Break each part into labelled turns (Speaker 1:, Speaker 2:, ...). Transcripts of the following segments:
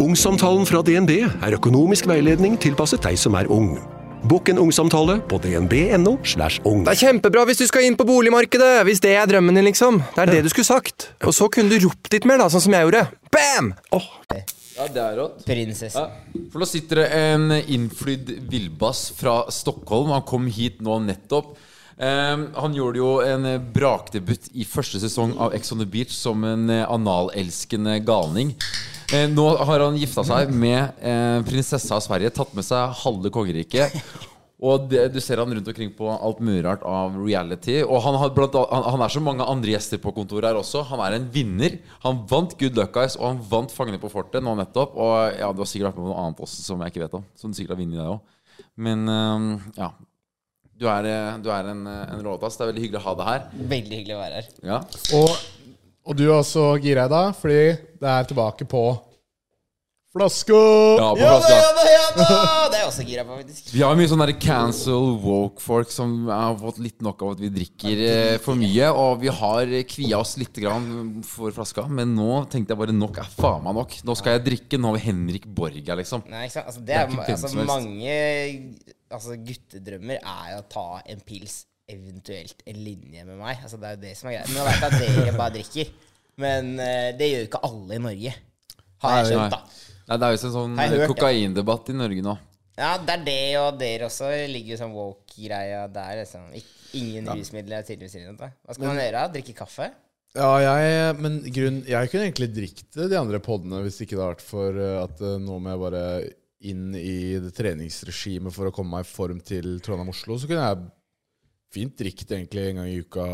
Speaker 1: Ungsamtalen fra DNB er økonomisk veiledning tilpasset deg som er ung. Bokk en ungsamtale på dnb.no. slash ung.
Speaker 2: Det er kjempebra hvis du skal inn på boligmarkedet! Hvis det er drømmen din, liksom. Det er det du skulle sagt. Og så kunne du ropt litt mer, da, sånn som jeg gjorde. Bam!
Speaker 3: Ja, det er rått. Ja.
Speaker 4: Prinsessen.
Speaker 3: For da sitter det en innflydd villbass fra Stockholm. Han kom hit nå nettopp. Ehm, han gjorde jo en eh, brakdebut i første sesong av Ex on the Beach som en eh, analelskende galning. Eh, nå har han gifta seg med eh, prinsessa av Sverige, tatt med seg halve kongeriket. Og det, du ser han rundt omkring på alt mulig rart av reality. Og han, har blant, an- han, han er så mange andre gjester på kontoret her også. Han er en vinner. Han vant Good Luck Guys, og han vant Fangene på fortet nå nettopp. Og ja, du har sikkert vært med på noe annet også som jeg ikke vet om. Som du sikkert har vunnet, deg òg. Men ehm, ja. Du er, eh, du er en, eh, en råtass. Det er veldig hyggelig å ha deg her.
Speaker 4: Veldig hyggelig å være her.
Speaker 3: Ja.
Speaker 5: Og, og du er også gira i dag, fordi det er tilbake på Flasko!
Speaker 3: Ja, på
Speaker 4: Ja da,
Speaker 3: flaska.
Speaker 4: ja da, ja da! Det er jeg også gira på, faktisk.
Speaker 3: Vi har mye sånne der cancel woke-folk som har fått litt nok av at vi drikker eh, for mye. Og vi har kvia oss litt grann for flaska, men nå tenkte jeg bare nok er faen meg nok. Nå skal jeg drikke. Nå har vi Henrik Borg her, liksom.
Speaker 4: Nei, ikke sant? Altså, det er,
Speaker 3: ikke hvem
Speaker 4: altså,
Speaker 3: som helst.
Speaker 4: mange altså, guttedrømmer er jo å ta en pils, eventuelt en linje med meg. Altså, det er jo det som er greit. Nå vet jeg at dere bare drikker, men eh, det gjør jo ikke alle i Norge. Har
Speaker 3: Nei,
Speaker 4: jeg skjønt, da.
Speaker 3: Nei, det er jo en sånn
Speaker 4: Har jeg hørt,
Speaker 3: kokaindebatt i Norge nå.
Speaker 4: Ja, det er det, og dere også ligger jo sånn woke-greia der. Liksom. Ik- Ingen rusmidler er tydeligvis innrømt. Hva skal man gjøre? da? Drikke kaffe?
Speaker 5: Ja, jeg, men grunn, jeg kunne egentlig drikket de andre poddene hvis det ikke hadde vært for eh, at eh, nå må jeg bare inn i det treningsregimet for å komme meg i form til Trondheim-Oslo. Så kunne jeg fint drikket egentlig en gang i uka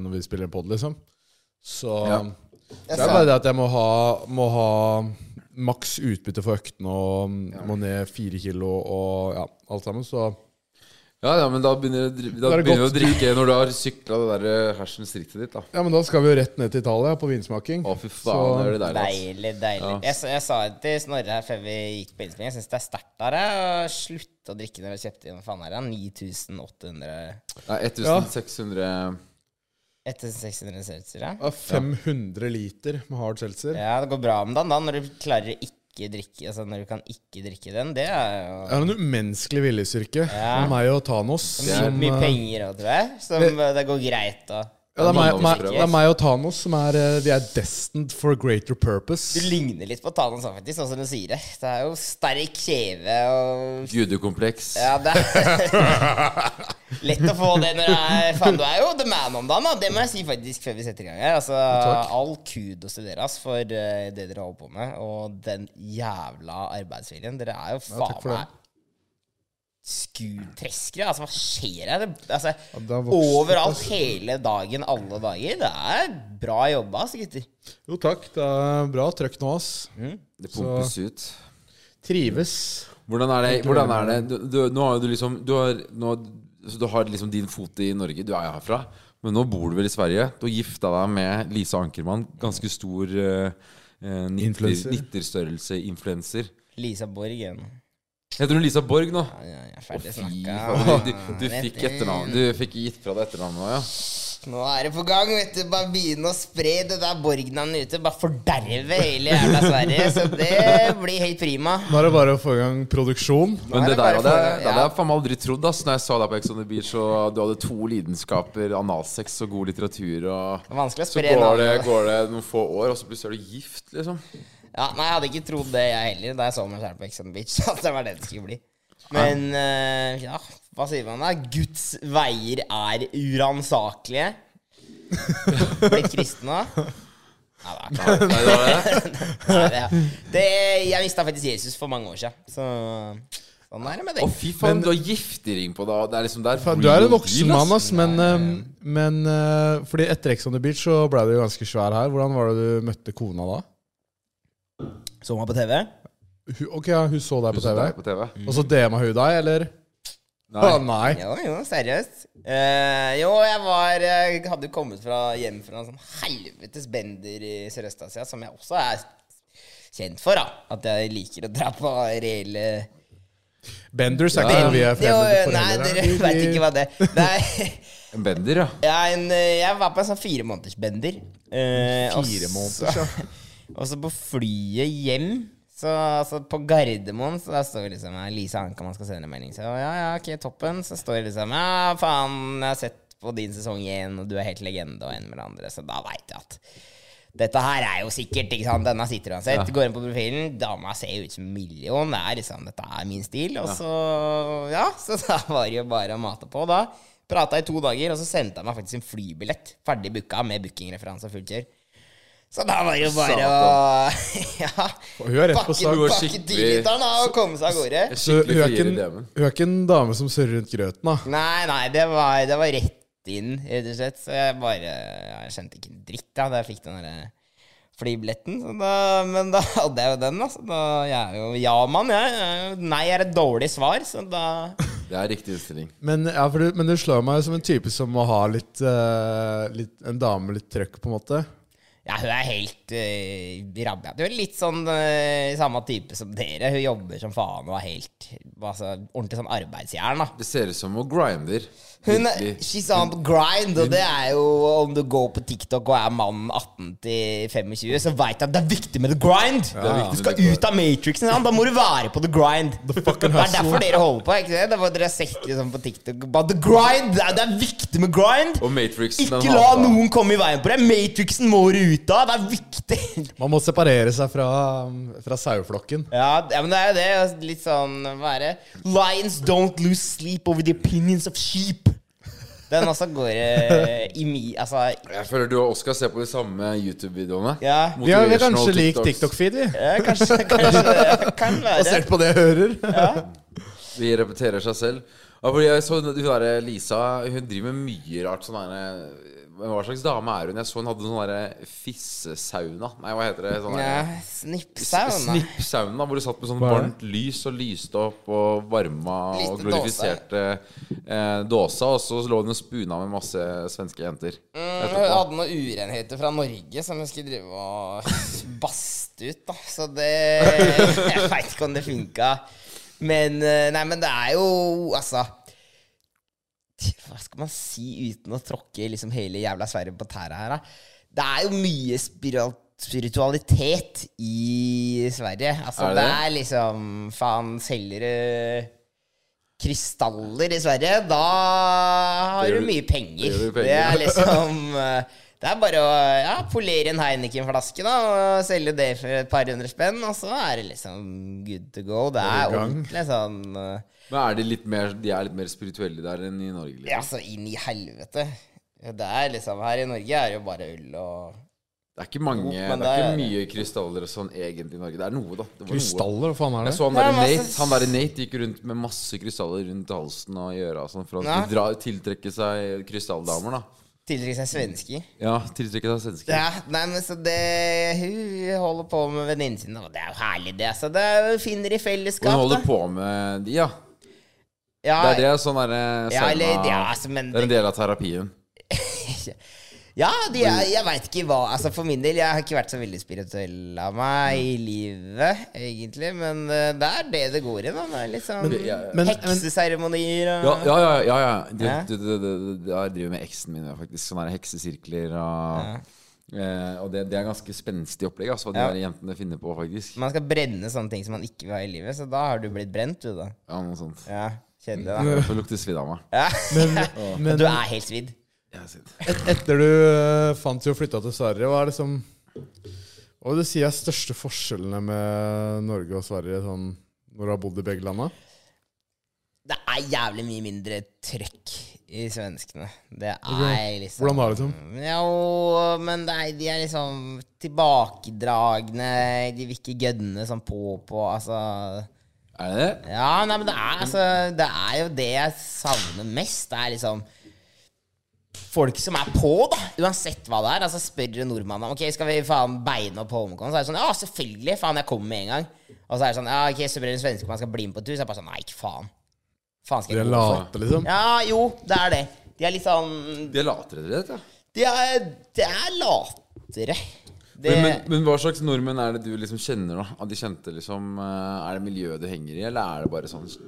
Speaker 5: når vi spiller en podd, liksom. Så det er bare det at jeg må ha, må ha maks utbytte for øktene og mm, må ned fire kilo og ja, alt sammen. Så
Speaker 3: Ja, ja, men da begynner du å dri- da
Speaker 5: Da er det
Speaker 3: begynner du å
Speaker 5: godt.
Speaker 3: drikke når du har sykla det der eh, hersens rittet ditt, da.
Speaker 5: ja, men da skal vi jo rett ned til Italia på vinsmaking.
Speaker 3: Å, fy faen, det er det der, altså.
Speaker 4: Deilig, deilig.
Speaker 3: Ja.
Speaker 4: Jeg, sa- jeg sa det til Snorre her før vi gikk på innspilling. Jeg syns det er sterkt av deg å slutte å drikke når du kjøpte inn hva faen er det? 9800
Speaker 3: Nei, 1600
Speaker 4: 1600 seltzer? ja.
Speaker 5: Ja, 500 liter med hard seltzer.
Speaker 4: Ja, det går bra med den da, når du klarer å ikke drikke Altså når du kan ikke drikke den. Det er jo
Speaker 5: Det er en umenneskelig viljestyrke
Speaker 4: Ja.
Speaker 5: av meg og Thanos.
Speaker 4: mye,
Speaker 5: som,
Speaker 4: mye
Speaker 5: eh,
Speaker 4: penger òg, tror jeg. Som eh, det går greit å
Speaker 5: Ja, det, er
Speaker 3: Mange
Speaker 5: meg, meg,
Speaker 3: overskrifter.
Speaker 5: det er meg og Thanos som er eh, Vi er destined for a greater
Speaker 4: Du
Speaker 5: purpose.
Speaker 4: ligner litt på Thanos òg, faktisk, sånn som du sier det. Det er jo sterk kjeve og
Speaker 3: Gudekompleks.
Speaker 4: Ja, det er Lett å få det når det er Faen, du er jo the man om dagen, da. Det må jeg si faktisk før vi setter i gang her. Altså, all kudos til dere ass, for eh, det dere holder på med, og den jævla arbeidsviljen. Dere er jo faen
Speaker 5: takk for det.
Speaker 4: meg skurtreskere. Altså, hva skjer her? Det- Altså,
Speaker 5: det har vokst altså.
Speaker 4: overalt, hele dagen, alle dager. Det er bra jobba, altså, gutter.
Speaker 5: Jo takk, det er bra trøkk nå, ass.
Speaker 4: Mm.
Speaker 3: Det pumpes ut.
Speaker 5: Trives.
Speaker 3: Hvordan er det, hvordan er det? Du, du, Nå har jo du liksom du har, nå, så du har liksom din fot i Norge, du er jo herfra. Men nå bor du vel i Sverige. Du har gifta deg med Lisa Ankermann. Ganske stor eh, eh, nitter-
Speaker 5: Influencer.
Speaker 3: nitterstørrelse-influenser.
Speaker 4: Lisa Borgen.
Speaker 3: Heter hun Lisa Borg nå?
Speaker 4: Ja, jeg er ferdig
Speaker 3: Fy
Speaker 4: snakka.
Speaker 3: faen, du, du, du fikk etternavn. Du fikk gitt fra deg etternavnet nå, ja.
Speaker 4: Nå er det på gang, vet du. Bare begynne å spre det der Borg-navnet ute. Bare forderve hele jævla Sverige. Så det blir helt prima.
Speaker 5: Nå er det bare å få i gang produksjon.
Speaker 3: Men
Speaker 4: er
Speaker 3: det der
Speaker 4: det bare
Speaker 3: hadde jeg,
Speaker 4: for-
Speaker 3: det hadde
Speaker 4: ja.
Speaker 3: jeg faen meg aldri trodd, ass. Når jeg så deg på Ex on the Beach, og du hadde to lidenskaper, analsex og god litteratur, og
Speaker 4: Det er vanskelig å
Speaker 3: så går
Speaker 4: spre
Speaker 3: det,
Speaker 4: navnet.
Speaker 3: går det noen få år, og så plutselig er du gift, liksom.
Speaker 4: Ja, nei, jeg hadde ikke trodd det, jeg heller, da jeg så meg selv på Ex on the Beach. At det var det det skulle bli. Men eh, ja, hva sier man da? Guds veier er uransakelige. Blitt kristen nå? Nei, det er ikke
Speaker 3: Nei, det var det.
Speaker 4: Nei, det. er- det jeg mista faktisk Jesus for mange år siden, så sånn er det med
Speaker 3: Å,
Speaker 4: det.
Speaker 3: fy faen, du har giftering på deg. og Det er liksom der
Speaker 5: Faen, Du er en voksen mann, ass, men, eh, men eh, Fordi etter Ex on the Beach så ble du jo ganske svær her. Hvordan var det du møtte kona da?
Speaker 4: Så meg på TV.
Speaker 5: Hun, ok, ja, hun så deg på TV,
Speaker 3: På TV.
Speaker 5: og så DM-a hun deg, eller? Nei.
Speaker 3: Nei.
Speaker 5: Ah, nei.
Speaker 4: Jo, jo, seriøst. Eh, jo, jeg var Jeg hadde jo kommet fra, hjem fra en sånn helvetes bender i Sørøst-Asia, som jeg også er kjent for, da. At jeg liker å dra på reelle
Speaker 5: Benders er ikke noe vi er
Speaker 4: Jo,
Speaker 5: fremmede for
Speaker 4: Nei,
Speaker 5: heller.
Speaker 4: dere veit ikke hva det Nei,
Speaker 3: En bender, ja.
Speaker 4: jeg, er en, jeg var på en sånn fire måneders bender. eh, og
Speaker 5: Fire
Speaker 4: så-
Speaker 5: måneder, ja.
Speaker 4: Og så på flyet hjem Så altså, på Gardermoen så der står liksom ja, Lise Ankermann skal sende en melding. Så ja, ja, ok, toppen. Så står det liksom Ja, faen, jeg har sett på din sesong igjen, og du er helt legende, og en med den andre. Så da veit jeg at dette her er jo sikkert, ikke sant. Denne sitter uansett. Går inn på profilen. Dama ser ut som en million. Det er liksom, dette er min stil. Og så, ja. Så da var det jo bare å mate på, da. Prata i to dager, og så sendte han meg faktisk en flybillett. Ferdig booka med bookingreferanse og fullt kjør. Så da var det jo bare å Ja.
Speaker 5: Og hun er rett på
Speaker 4: Pakke,
Speaker 5: sak.
Speaker 3: var
Speaker 4: pakke
Speaker 3: skikkelig-
Speaker 4: digitalen av og komme seg av gårde.
Speaker 5: Så hun
Speaker 3: Skikkelig
Speaker 5: er, ikke
Speaker 3: frier i
Speaker 5: en,
Speaker 3: DM-en.
Speaker 5: hun er ikke en dame som surrer rundt grøten, da.
Speaker 4: Nei, nei, det var, det var rett inn, rett og slett. Så jeg bare ja, Jeg skjønte ikke en dritt da da jeg fikk den derre flybilletten. Så da, men da hadde jeg jo den, da. Så da jeg er jo ja-mann, jeg. jeg. er jo- Nei er et dårlig svar, så da
Speaker 3: Det er riktig innstilling.
Speaker 5: Men, ja, for du, men du slår meg som en type som må ha litt, eh, litt En dame med litt trøkk, på en måte.
Speaker 4: Ja, hun er helt uh, rabia. Hun er litt sånn eh, samme type som dere. Hun jobber som faen og er helt altså, ordentlig sånn arbeidsjern, da.
Speaker 3: Det ser ut som hun grinder.
Speaker 4: Hun
Speaker 3: Virkelig.
Speaker 4: She's on the grind, og det er jo Om du går på TikTok og er mannen 18 til 25, så veit du at det er viktig med the grind.
Speaker 3: viktig
Speaker 4: du
Speaker 3: med
Speaker 4: skal
Speaker 3: the grind.
Speaker 4: ut av matrixen, sant? da må du være på the grind. det
Speaker 5: fucking
Speaker 4: er
Speaker 5: hustle.
Speaker 4: derfor dere holder på. ikke det? Det var dere har sett liksom på TikTok But the grind, det er, det er viktig med grind.
Speaker 3: Og Matrixen, den
Speaker 4: Ikke la
Speaker 3: hater han.
Speaker 4: noen komme i veien på deg. Matrixen må du ut av. Det er viktig.
Speaker 5: Man må separere seg fra, fra saueflokken.
Speaker 4: Ja, d- ja, men det er jo det. altså, Litt sånn Hva er det? Lions don't lose sleep over the opinions of sheep. Den også går eh, i mi... Altså
Speaker 3: Jeg føler du og Oskar ser på de samme YouTube-videoene.
Speaker 4: Ja.
Speaker 5: Vi har vi har
Speaker 3: Motivational
Speaker 5: kanskje lik
Speaker 3: TikToks.
Speaker 5: TikTok-feed, vi.
Speaker 4: ja, kanskje, kanskje det kan være.
Speaker 5: Basert på det jeg hører.
Speaker 3: De repeterer seg selv. Ja, fordi jeg så hun der Lisa Hun driver med mye rart. Sånn der, men hva slags dame er hun? Jeg så hun hadde sånn der fissesauna. Nei, hva heter det? Sånn
Speaker 4: Ja,
Speaker 3: der-
Speaker 4: Snippsauna.
Speaker 3: Snippsauna, hvor du satt med sånn
Speaker 5: Hva er
Speaker 3: varmt lys og lyste opp og varma og
Speaker 4: Liten
Speaker 3: glorifiserte eh, dåsa. Og så lå hun og spuna med masse svenske jenter.
Speaker 4: Mm, Hun
Speaker 3: etterpå.
Speaker 4: hadde noen urenheter fra Norge som hun skulle drive og baste ut, da. Så det Jeg veit ikke om det funka. Men eh, Nei, men det er jo Altså Hva skal man si uten å tråkke liksom hele jævla Sverige på tæra her, da? Det er jo mye spiral- spiritualitet i Sverige. Altså,
Speaker 3: Er det
Speaker 4: det,
Speaker 3: det?
Speaker 4: er liksom Faen, selger du krystaller i Sverige, da har
Speaker 3: Det gjør
Speaker 4: du
Speaker 3: du-
Speaker 4: mye penger.
Speaker 3: det gjør du penger.
Speaker 4: Det er liksom eh, Det er bare å ja, polere en Heineken-flaske da og selge det for et par hundre spenn, og så er det liksom good to go. Det
Speaker 5: Er
Speaker 4: er
Speaker 5: du i gang?
Speaker 4: ordentlig sånn eh,
Speaker 3: Men er de, litt mer, de er litt mer spirituelle der enn i Norge? Liksom.
Speaker 4: Ja, så inn i helvete. Det er liksom Her i Norge er det jo bare ull og
Speaker 3: Det er ikke mange
Speaker 4: Jo,
Speaker 3: Det
Speaker 4: men
Speaker 3: er
Speaker 4: det
Speaker 3: ikke
Speaker 4: er-
Speaker 3: mye krystaller og sånn egentlig i Norge. Det er noe, da. Det var noe.
Speaker 5: Krystaller, hva faen er
Speaker 3: Jeg
Speaker 5: det?
Speaker 3: så han der
Speaker 4: Nei, men
Speaker 3: Nate
Speaker 4: altså-
Speaker 3: Han der Nate gikk rundt med masse krystaller rundt halsen og i øra og sånn, for han
Speaker 4: Ja.
Speaker 3: skulle dra, tiltrekke seg krystalldamer, da.
Speaker 4: tiltrekke seg svensker.
Speaker 3: Mm. Ja, tiltrekke seg svensker.
Speaker 4: Ja, nei, men så det Hun holder på med venninnen sin, og det er jo herlig, det. Så det er jo finner i
Speaker 3: Og hun
Speaker 4: fellesskap,
Speaker 3: holder på med de, ja.
Speaker 4: Ja,
Speaker 3: Det er det sånn derre
Speaker 4: ja, eller, ja,
Speaker 3: sauna
Speaker 4: altså, men
Speaker 3: Det er en del av terapien.
Speaker 4: Ja, de, jeg, jeg veit ikke hva Altså For min del, jeg har ikke vært så veldig spirituell av meg i livet, egentlig. Men eh, det er det det går i, da. Det er litt sånn
Speaker 5: men-
Speaker 4: hekseseremonier og
Speaker 3: Ja, ja, ja. ja, ja. Du,
Speaker 4: Ja.
Speaker 3: du, du, du, du, jeg driver med eksen min, ja, faktisk. Sånne der heksesirkler og eh, Og det, det er ganske spenstig opplegg, altså, hva de der
Speaker 4: Ja.
Speaker 3: jentene finner på, faktisk.
Speaker 4: Man skal brenne sånne ting som man ikke vil ha i livet, så da har du blitt brent, du, da.
Speaker 3: Ja, noe sånt.
Speaker 4: Ja, Kjedelig, da.
Speaker 3: Derfor lukter svidd av meg.
Speaker 4: Ja.
Speaker 5: Men
Speaker 4: du er helt svidd.
Speaker 3: Jeg er sint.
Speaker 5: et, etter du eh, fant jo og flytta til Sverige, hva er det som Hva vil du si er største forskjellene med Norge og Sverige sånn, når du har bodd i begge landa?
Speaker 4: Det er jævlig mye mindre trøkk i svenskene. Det er
Speaker 5: Ok.
Speaker 4: liksom
Speaker 5: Hvordan da, liksom?
Speaker 4: Jo, men det er, de er liksom tilbakedragne. De vil ikke gønne sånn på på. Altså
Speaker 3: Er det det?
Speaker 4: Ja, nei, men det er, altså, det er jo det jeg savner mest. Det er liksom folk som er på, da. Uansett hva det er. Altså Spør du nordmannen om Ok, skal vi faen beine opp Holmenkollen, så er det sånn Ja, selvfølgelig! Faen, jeg kommer med en gang. Og så er det sånn Ja, ok, spør en svenske om han skal bli med på tur, så er det bare sånn Nei, ikke faen. Faen skal
Speaker 5: De
Speaker 4: jeg
Speaker 5: er
Speaker 4: gå for?
Speaker 5: late, liksom?
Speaker 4: Ja, jo, det er det. De er litt sånn
Speaker 3: De er latere, rett og slett.
Speaker 4: De er, de er latere. Det,
Speaker 3: Men, men, men hva slags nordmenn er det du liksom kjenner, da? Av de kjente, liksom eh, Er det miljøet du henger i, eller er det bare sånn Du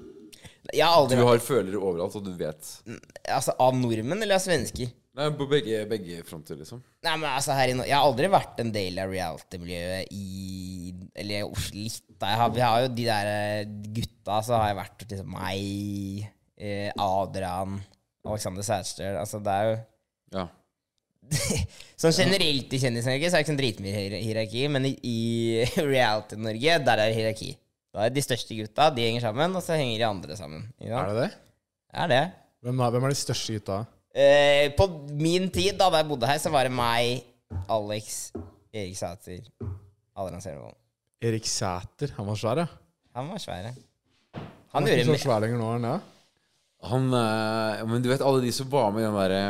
Speaker 4: jeg har aldri
Speaker 3: har følere overalt, og du vet
Speaker 4: Mm. Altså av nordmenn eller av svensker?
Speaker 3: Nei, på begge, begge fronter, liksom.
Speaker 4: Nei, men altså her i Norge Jeg har aldri vært en del av reality-miljøet i Eller jo, litt. da. Jeg har, vi har jo de der eh, gutta, så har jeg vært liksom meg, eh, Adrian, Alexander Sætstøl Altså, det er jo
Speaker 3: Ja.
Speaker 4: Sånn generelt i Kjendis-Norge så er det ikke sånn dritmye hier- hierarki, men i, i reality-Norge, der er det hierarki. Da er de største gutta, de henger sammen, og så henger de andre sammen. ikke sant?
Speaker 5: Er det det?
Speaker 4: Er det?
Speaker 5: Hvem er, hvem er de største gutta?
Speaker 4: Eh, på min tid, da, da jeg bodde her, så var det meg, Alex, Erik Sæter, Adrian Selvold.
Speaker 5: Erik Sæter. Han var svær, ja.
Speaker 4: Han var svær, ja.
Speaker 5: Han
Speaker 4: Han
Speaker 5: er
Speaker 4: gjorde
Speaker 5: ikke så
Speaker 4: mer.
Speaker 5: svær lenger nå, er han det?
Speaker 3: Han eh, Men du vet, alle de som var med i den derre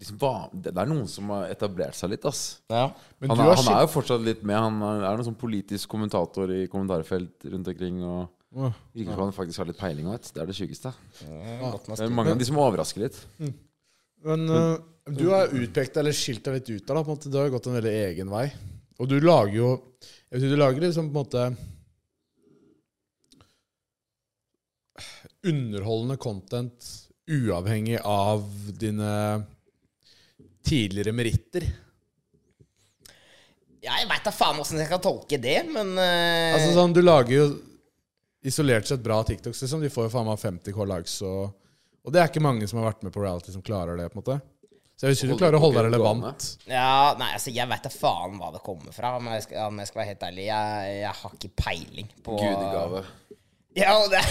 Speaker 3: de som var- det det er noen som har etablert seg litt, ass.
Speaker 4: Ja.
Speaker 5: Men
Speaker 3: Han
Speaker 5: du
Speaker 3: er,
Speaker 5: har
Speaker 3: han er jo fortsatt litt med. Han er er noen sånn politisk kommentator i kommentarfelt rundt omkring. Og
Speaker 5: Åh.
Speaker 3: virker som han faktisk har litt peiling av det. Det er det sjukeste.
Speaker 4: Godt med
Speaker 3: Det er mange av de som overrasker litt.
Speaker 5: Men øh, du har utpekt deg eller skilt deg litt ut der. da, på en måte. Du har jo gått en veldig egen vei. Og du lager jo jeg vet, ikke, Du lager liksom på en måte underholdende content uavhengig av dine tidligere meritter.
Speaker 4: Ja, jeg veit da faen åssen jeg skal tolke det, men eh,
Speaker 5: Altså sånn, Du lager jo isolert sett bra TikToks. liksom. De får jo faen meg 50K likes. Og, og det er ikke mange som har vært med på reality, som klarer det. på en måte. Så jeg vil si du
Speaker 3: Holde-
Speaker 5: klarer å holde deg
Speaker 3: holde gående.
Speaker 5: relevant.
Speaker 4: Ja, nei, altså, jeg veit da faen hva det kommer fra, om jeg skal, om jeg skal være helt ærlig. Jeg, jeg har ikke peiling på
Speaker 3: Gudegave.
Speaker 4: Ja, og det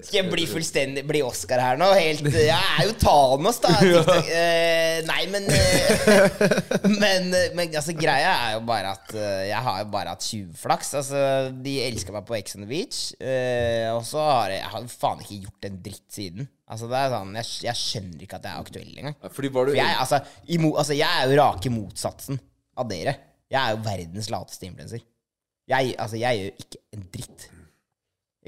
Speaker 4: Skal jeg bli fullstendig Bli Oscar her nå? Helt Jeg er jo Thanos, da. TikTok. Eh, nei, men eh, Men, men altså, greia er jo bare at eh, jeg har jo bare hatt tjuvflaks. Altså, de elska meg på Ex on the Beach, eh, og så har jeg, jeg har jo faen ikke gjort en dritt siden. Altså, det er sånn Jeg, jeg skjønner ikke at jeg er aktuell engang.
Speaker 3: Ja, Fordi var du
Speaker 4: For jeg, altså, imo, altså, jeg er jo rake motsatsen av dere. Jeg er jo verdens lateste influenser. Jeg, altså, jeg gjør ikke en dritt.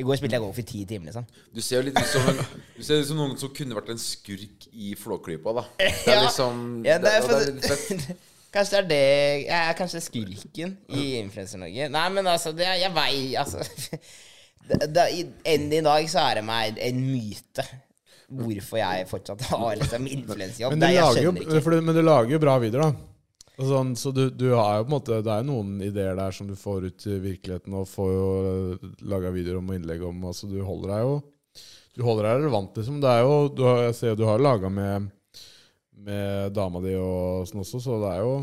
Speaker 4: I går spilte jeg golf i ti timer, liksom.
Speaker 3: Du ser jo litt ut som, en, du ser ut som noen som kunne vært en skurk i Flåklypa, da. Det er
Speaker 4: Ja.
Speaker 3: liksom
Speaker 4: Ja, det er
Speaker 3: det- det er litt fett.
Speaker 4: for, kanskje det er det Jeg er kanskje skurken i Influencer-Norge. Nei, men altså, det, er- jeg vei Altså det, det, i- Enn i dag så er det meg en myte hvorfor jeg fortsatt har liksom influenserjobb.
Speaker 5: Men du,
Speaker 4: Det- Jeg
Speaker 5: lager jo,
Speaker 4: skjønner ikke.
Speaker 5: for du, men du lager jo bra videoer, da. Og sånn, så du, du har jo på en måte Det er jo noen ideer der som du får ut i virkeligheten, og får jo eh, laga videoer om og innlegg om. Altså, du holder deg jo Du holder deg relevant, liksom. Det er jo, du har, jeg ser jo du har laga med, med dama di og sånn også, så det er jo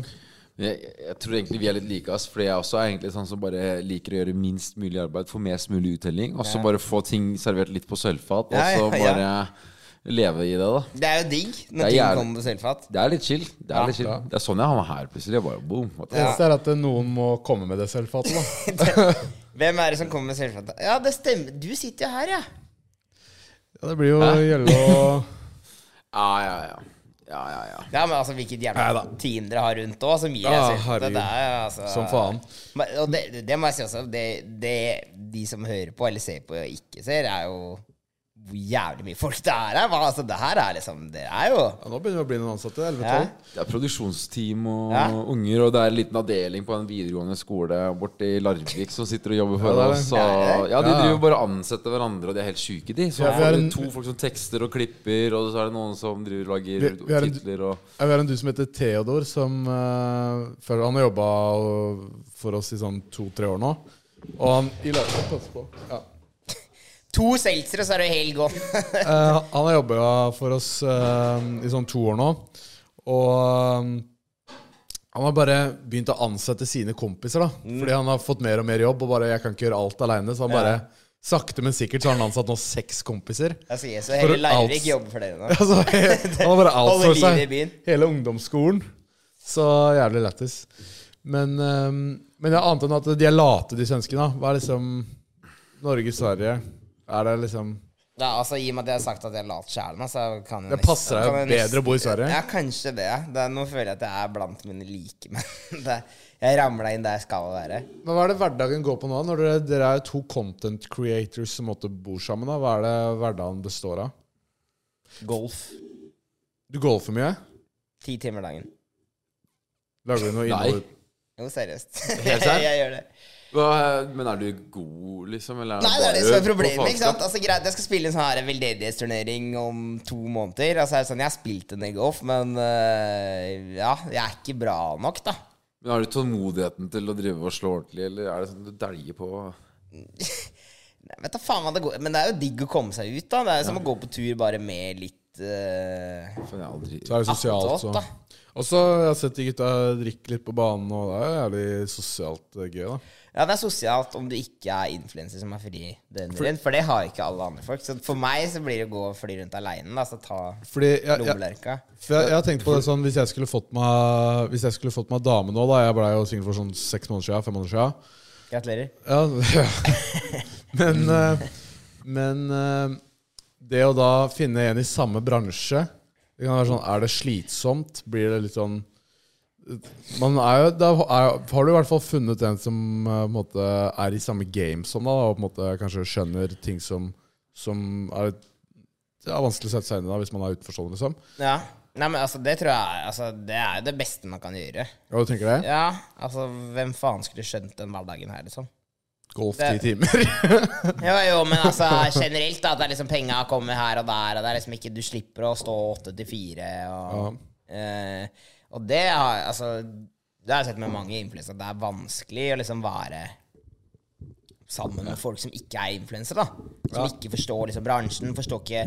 Speaker 3: Jeg, jeg tror egentlig vi er litt like, ass. Fordi jeg også er egentlig sånn som bare liker å gjøre minst mulig arbeid, få mest mulig uttelling, og så bare få ting servert litt på sølvfat, og
Speaker 4: Ja,
Speaker 3: så
Speaker 4: ja, ja.
Speaker 3: bare leve i det, da.
Speaker 4: Det er jo digg når
Speaker 3: Det er
Speaker 4: ting
Speaker 3: jævlig-
Speaker 4: kommer på sølvfat.
Speaker 3: Det er litt chill. Det er,
Speaker 4: Ja.
Speaker 3: litt chill. Det er sånn jeg havna her plutselig. Jeg bare boom. what the-
Speaker 5: Det eneste er at eh, noen må komme med det selvfatet, da.
Speaker 4: Hvem er det som kommer med selvfat? Ja, det stemmer. Du sitter jo her, ja.
Speaker 5: Ja, det blir jo gjelde å
Speaker 3: Ja, ja, ja. ja, ja, ja.
Speaker 4: Ja, men altså, hvilket jævla
Speaker 5: Neida.
Speaker 4: team dere har rundt òg, som gir
Speaker 5: Ja,
Speaker 4: deg selvfat. Det
Speaker 5: herregud.
Speaker 4: er jo altså
Speaker 5: Som faen.
Speaker 4: Men- Og det, det må jeg si også. Det, det de som hører på, eller ser på og ikke ser, er jo hvor jævlig mye folk det er her. Hva, altså, det her er liksom Det er jo
Speaker 5: Ja, nå begynner vi å bli noen ansatte. 11-12.
Speaker 4: ja.
Speaker 3: Det er produksjonsteam og
Speaker 4: Ja.
Speaker 3: unger, og det er en liten avdeling på en videregående skole borti Larvik som sitter og jobber for
Speaker 5: Ja, det er det.
Speaker 3: oss.
Speaker 4: Ja,
Speaker 3: Og,
Speaker 4: det
Speaker 3: ja, de
Speaker 5: Ja, ja.
Speaker 3: driver bare og ansetter hverandre, og de er helt sjuke, de. Så
Speaker 5: Ja, vi
Speaker 3: får
Speaker 5: har
Speaker 3: du
Speaker 5: en-
Speaker 3: to folk som tekster og klipper, og så er det noen som driver og lager
Speaker 5: Vi- vi har en-
Speaker 3: titler og
Speaker 5: Jeg vet om du som heter Theodor, som eh, føler han har jobba for oss i sånn to-tre år nå. Og han i lag- pass på. Ja.
Speaker 4: To seltzere, så er det helg òg.
Speaker 5: Eh, han har jobba for oss eh, i sånn to år nå. Og eh, han har bare begynt å ansette sine kompiser, da. Fordi han har fått mer og mer jobb, og bare 'jeg kan ikke gjøre alt aleine', så han bare Sakte, men sikkert så har han ansatt nå seks kompiser.
Speaker 4: Jeg sier så
Speaker 5: For
Speaker 4: hele
Speaker 5: alt-
Speaker 4: Leirvik jobber for dere nå.
Speaker 5: Altså, han har bare
Speaker 4: Holder
Speaker 5: outsourca
Speaker 4: liv i byen.
Speaker 5: hele ungdomsskolen. Så jævlig lættis. Men, um, men jeg ante enn at de er late, de svenskene. da. Hva er liksom Norge, Sverige Er det liksom
Speaker 4: Da, altså, I og med at jeg har sagt at jeg er lat sjæl, så kan jeg
Speaker 5: Det
Speaker 4: nesten-
Speaker 5: passer deg jo
Speaker 4: kan jeg nesten-
Speaker 5: bedre å bo i Sverige.
Speaker 4: Ja, kanskje det. det er, nå føler jeg at jeg er blant mine like, men det, jeg ramla inn der jeg skal være.
Speaker 5: Men hva er det hverdagen går på nå? Når dere, dere er jo to content creators som måtte bo sammen, da. Hva er det hverdagen består av?
Speaker 4: Golf.
Speaker 5: Du golfer mye?
Speaker 4: Ti timer dagen.
Speaker 5: Lager du noe
Speaker 3: Nei.
Speaker 5: innhold?
Speaker 4: Jo, seriøst.
Speaker 3: Helt sant?
Speaker 4: jeg gjør det.
Speaker 3: Hva, men er du god, liksom? Eller
Speaker 4: Nei, det er det som
Speaker 3: bare
Speaker 4: er
Speaker 3: på
Speaker 4: problemet. ikke
Speaker 3: fagskap?
Speaker 4: sant? Altså greit, Jeg skal spille en sånn her veldedighetsturnering om to måneder. Altså, jeg, er sånn, jeg har spilt en i golf, men øh, ja, jeg er ikke bra nok, da.
Speaker 3: Men Har du tålmodigheten til å drive og slå ordentlig, eller er det sånn du deljer på
Speaker 4: Nei, vet da faen hva det går Men det er jo digg å komme seg ut, da. Det er jo som å gå på tur bare med litt øh,
Speaker 3: For jeg har aldri
Speaker 5: Så er det sosialt,
Speaker 4: Attåt, da.
Speaker 5: så. Og så har jeg sett de gutta drikke litt på banen, og det er jo jævlig sosialt eh, gøy, da.
Speaker 4: Ja, det er sosialt om du ikke er influenser som er fri døgnet rundt, for det har ikke alle andre folk. Så for meg så blir det å gå og fly rundt aleine, da. Så ta
Speaker 5: Fordi jeg, jeg,
Speaker 4: lommelerka.
Speaker 5: For jeg, jeg har tenkt på det sånn Hvis jeg skulle fått meg Hvis jeg skulle fått meg dame nå da Jeg ble jo singel for sånn seks måneder siden Fem måneder siden
Speaker 4: Gratulerer.
Speaker 5: ja, Men eh, Men eh, Det å da finne en i samme bransje Det kan være sånn Er det slitsomt? Blir det litt sånn man er jo, da er, har du i hvert fall funnet en som eh, på en måte, er i samme game som deg, da, og på en måte kanskje skjønner ting som, som er, det er vanskelig å sette seg inn i da, hvis man er utenforstående. Liksom.
Speaker 4: Ja. Nei, men altså, det tror jeg altså, Det er jo det beste man kan gjøre.
Speaker 5: Ja, du tenker det?
Speaker 4: Ja, altså, hvem faen skulle skjønt den hverdagen her, liksom?
Speaker 5: Golf ti
Speaker 4: Det-
Speaker 5: timer.
Speaker 4: Jo, jo, men altså, generelt, da. At det er liksom penga kommer her og der, og det er liksom ikke Du slipper å stå åtte til fire, og eh, Og det har Altså, det har jeg sett med mange influensere, at det er vanskelig å liksom være sammen med folk som ikke er influensere, da. Som ikke forstår liksom bransjen, forstår ikke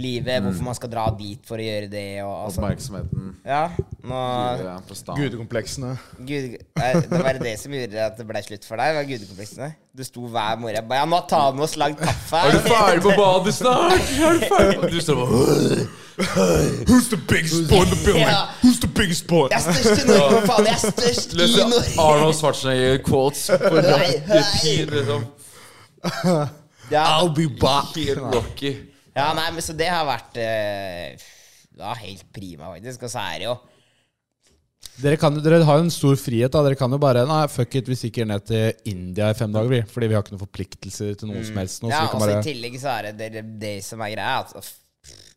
Speaker 4: livet,
Speaker 3: Mm.
Speaker 4: hvorfor man skal dra dit for å gjøre det, og altså
Speaker 3: oppmerksomheten?
Speaker 4: Ja, nå
Speaker 3: Fyrer jeg på stan.
Speaker 5: Gudekompleksene.
Speaker 4: Gud, nei, det var det som gjorde at det ble slutt for deg? var gudekompleksene Du sto hver morgen og ba, Ja, nå tar vi oss lagd kaffe.
Speaker 3: Er du ferdig på badet snart? Er du ferdig? Og Du står bare
Speaker 5: Who's the biggest boy in the building?
Speaker 4: Ja.
Speaker 5: Who's the biggest boy?
Speaker 4: Jeg er størst i Norge, for faen. Jeg er størst i
Speaker 3: Leser
Speaker 4: Norge.
Speaker 3: Arnold Schwarzenegger-quotes på
Speaker 4: Nei,
Speaker 3: repeat, liksom.
Speaker 4: Ja,
Speaker 5: I'll be back.
Speaker 3: Helt Rocky.
Speaker 4: ja, nei, men så det har vært eh, ja, helt prima, faktisk. Og så er det jo
Speaker 5: Dere, kan, dere har jo en stor frihet. da Dere kan jo bare Nei, fuck it, vi stikker ned til India i fem dager, vi. Fordi vi har ikke noen forpliktelser til noen som helst nå. Så
Speaker 4: Ja,
Speaker 5: vi
Speaker 4: og
Speaker 5: kan
Speaker 4: så
Speaker 5: bare
Speaker 4: i tillegg så er det det, det som er greia, er at pff,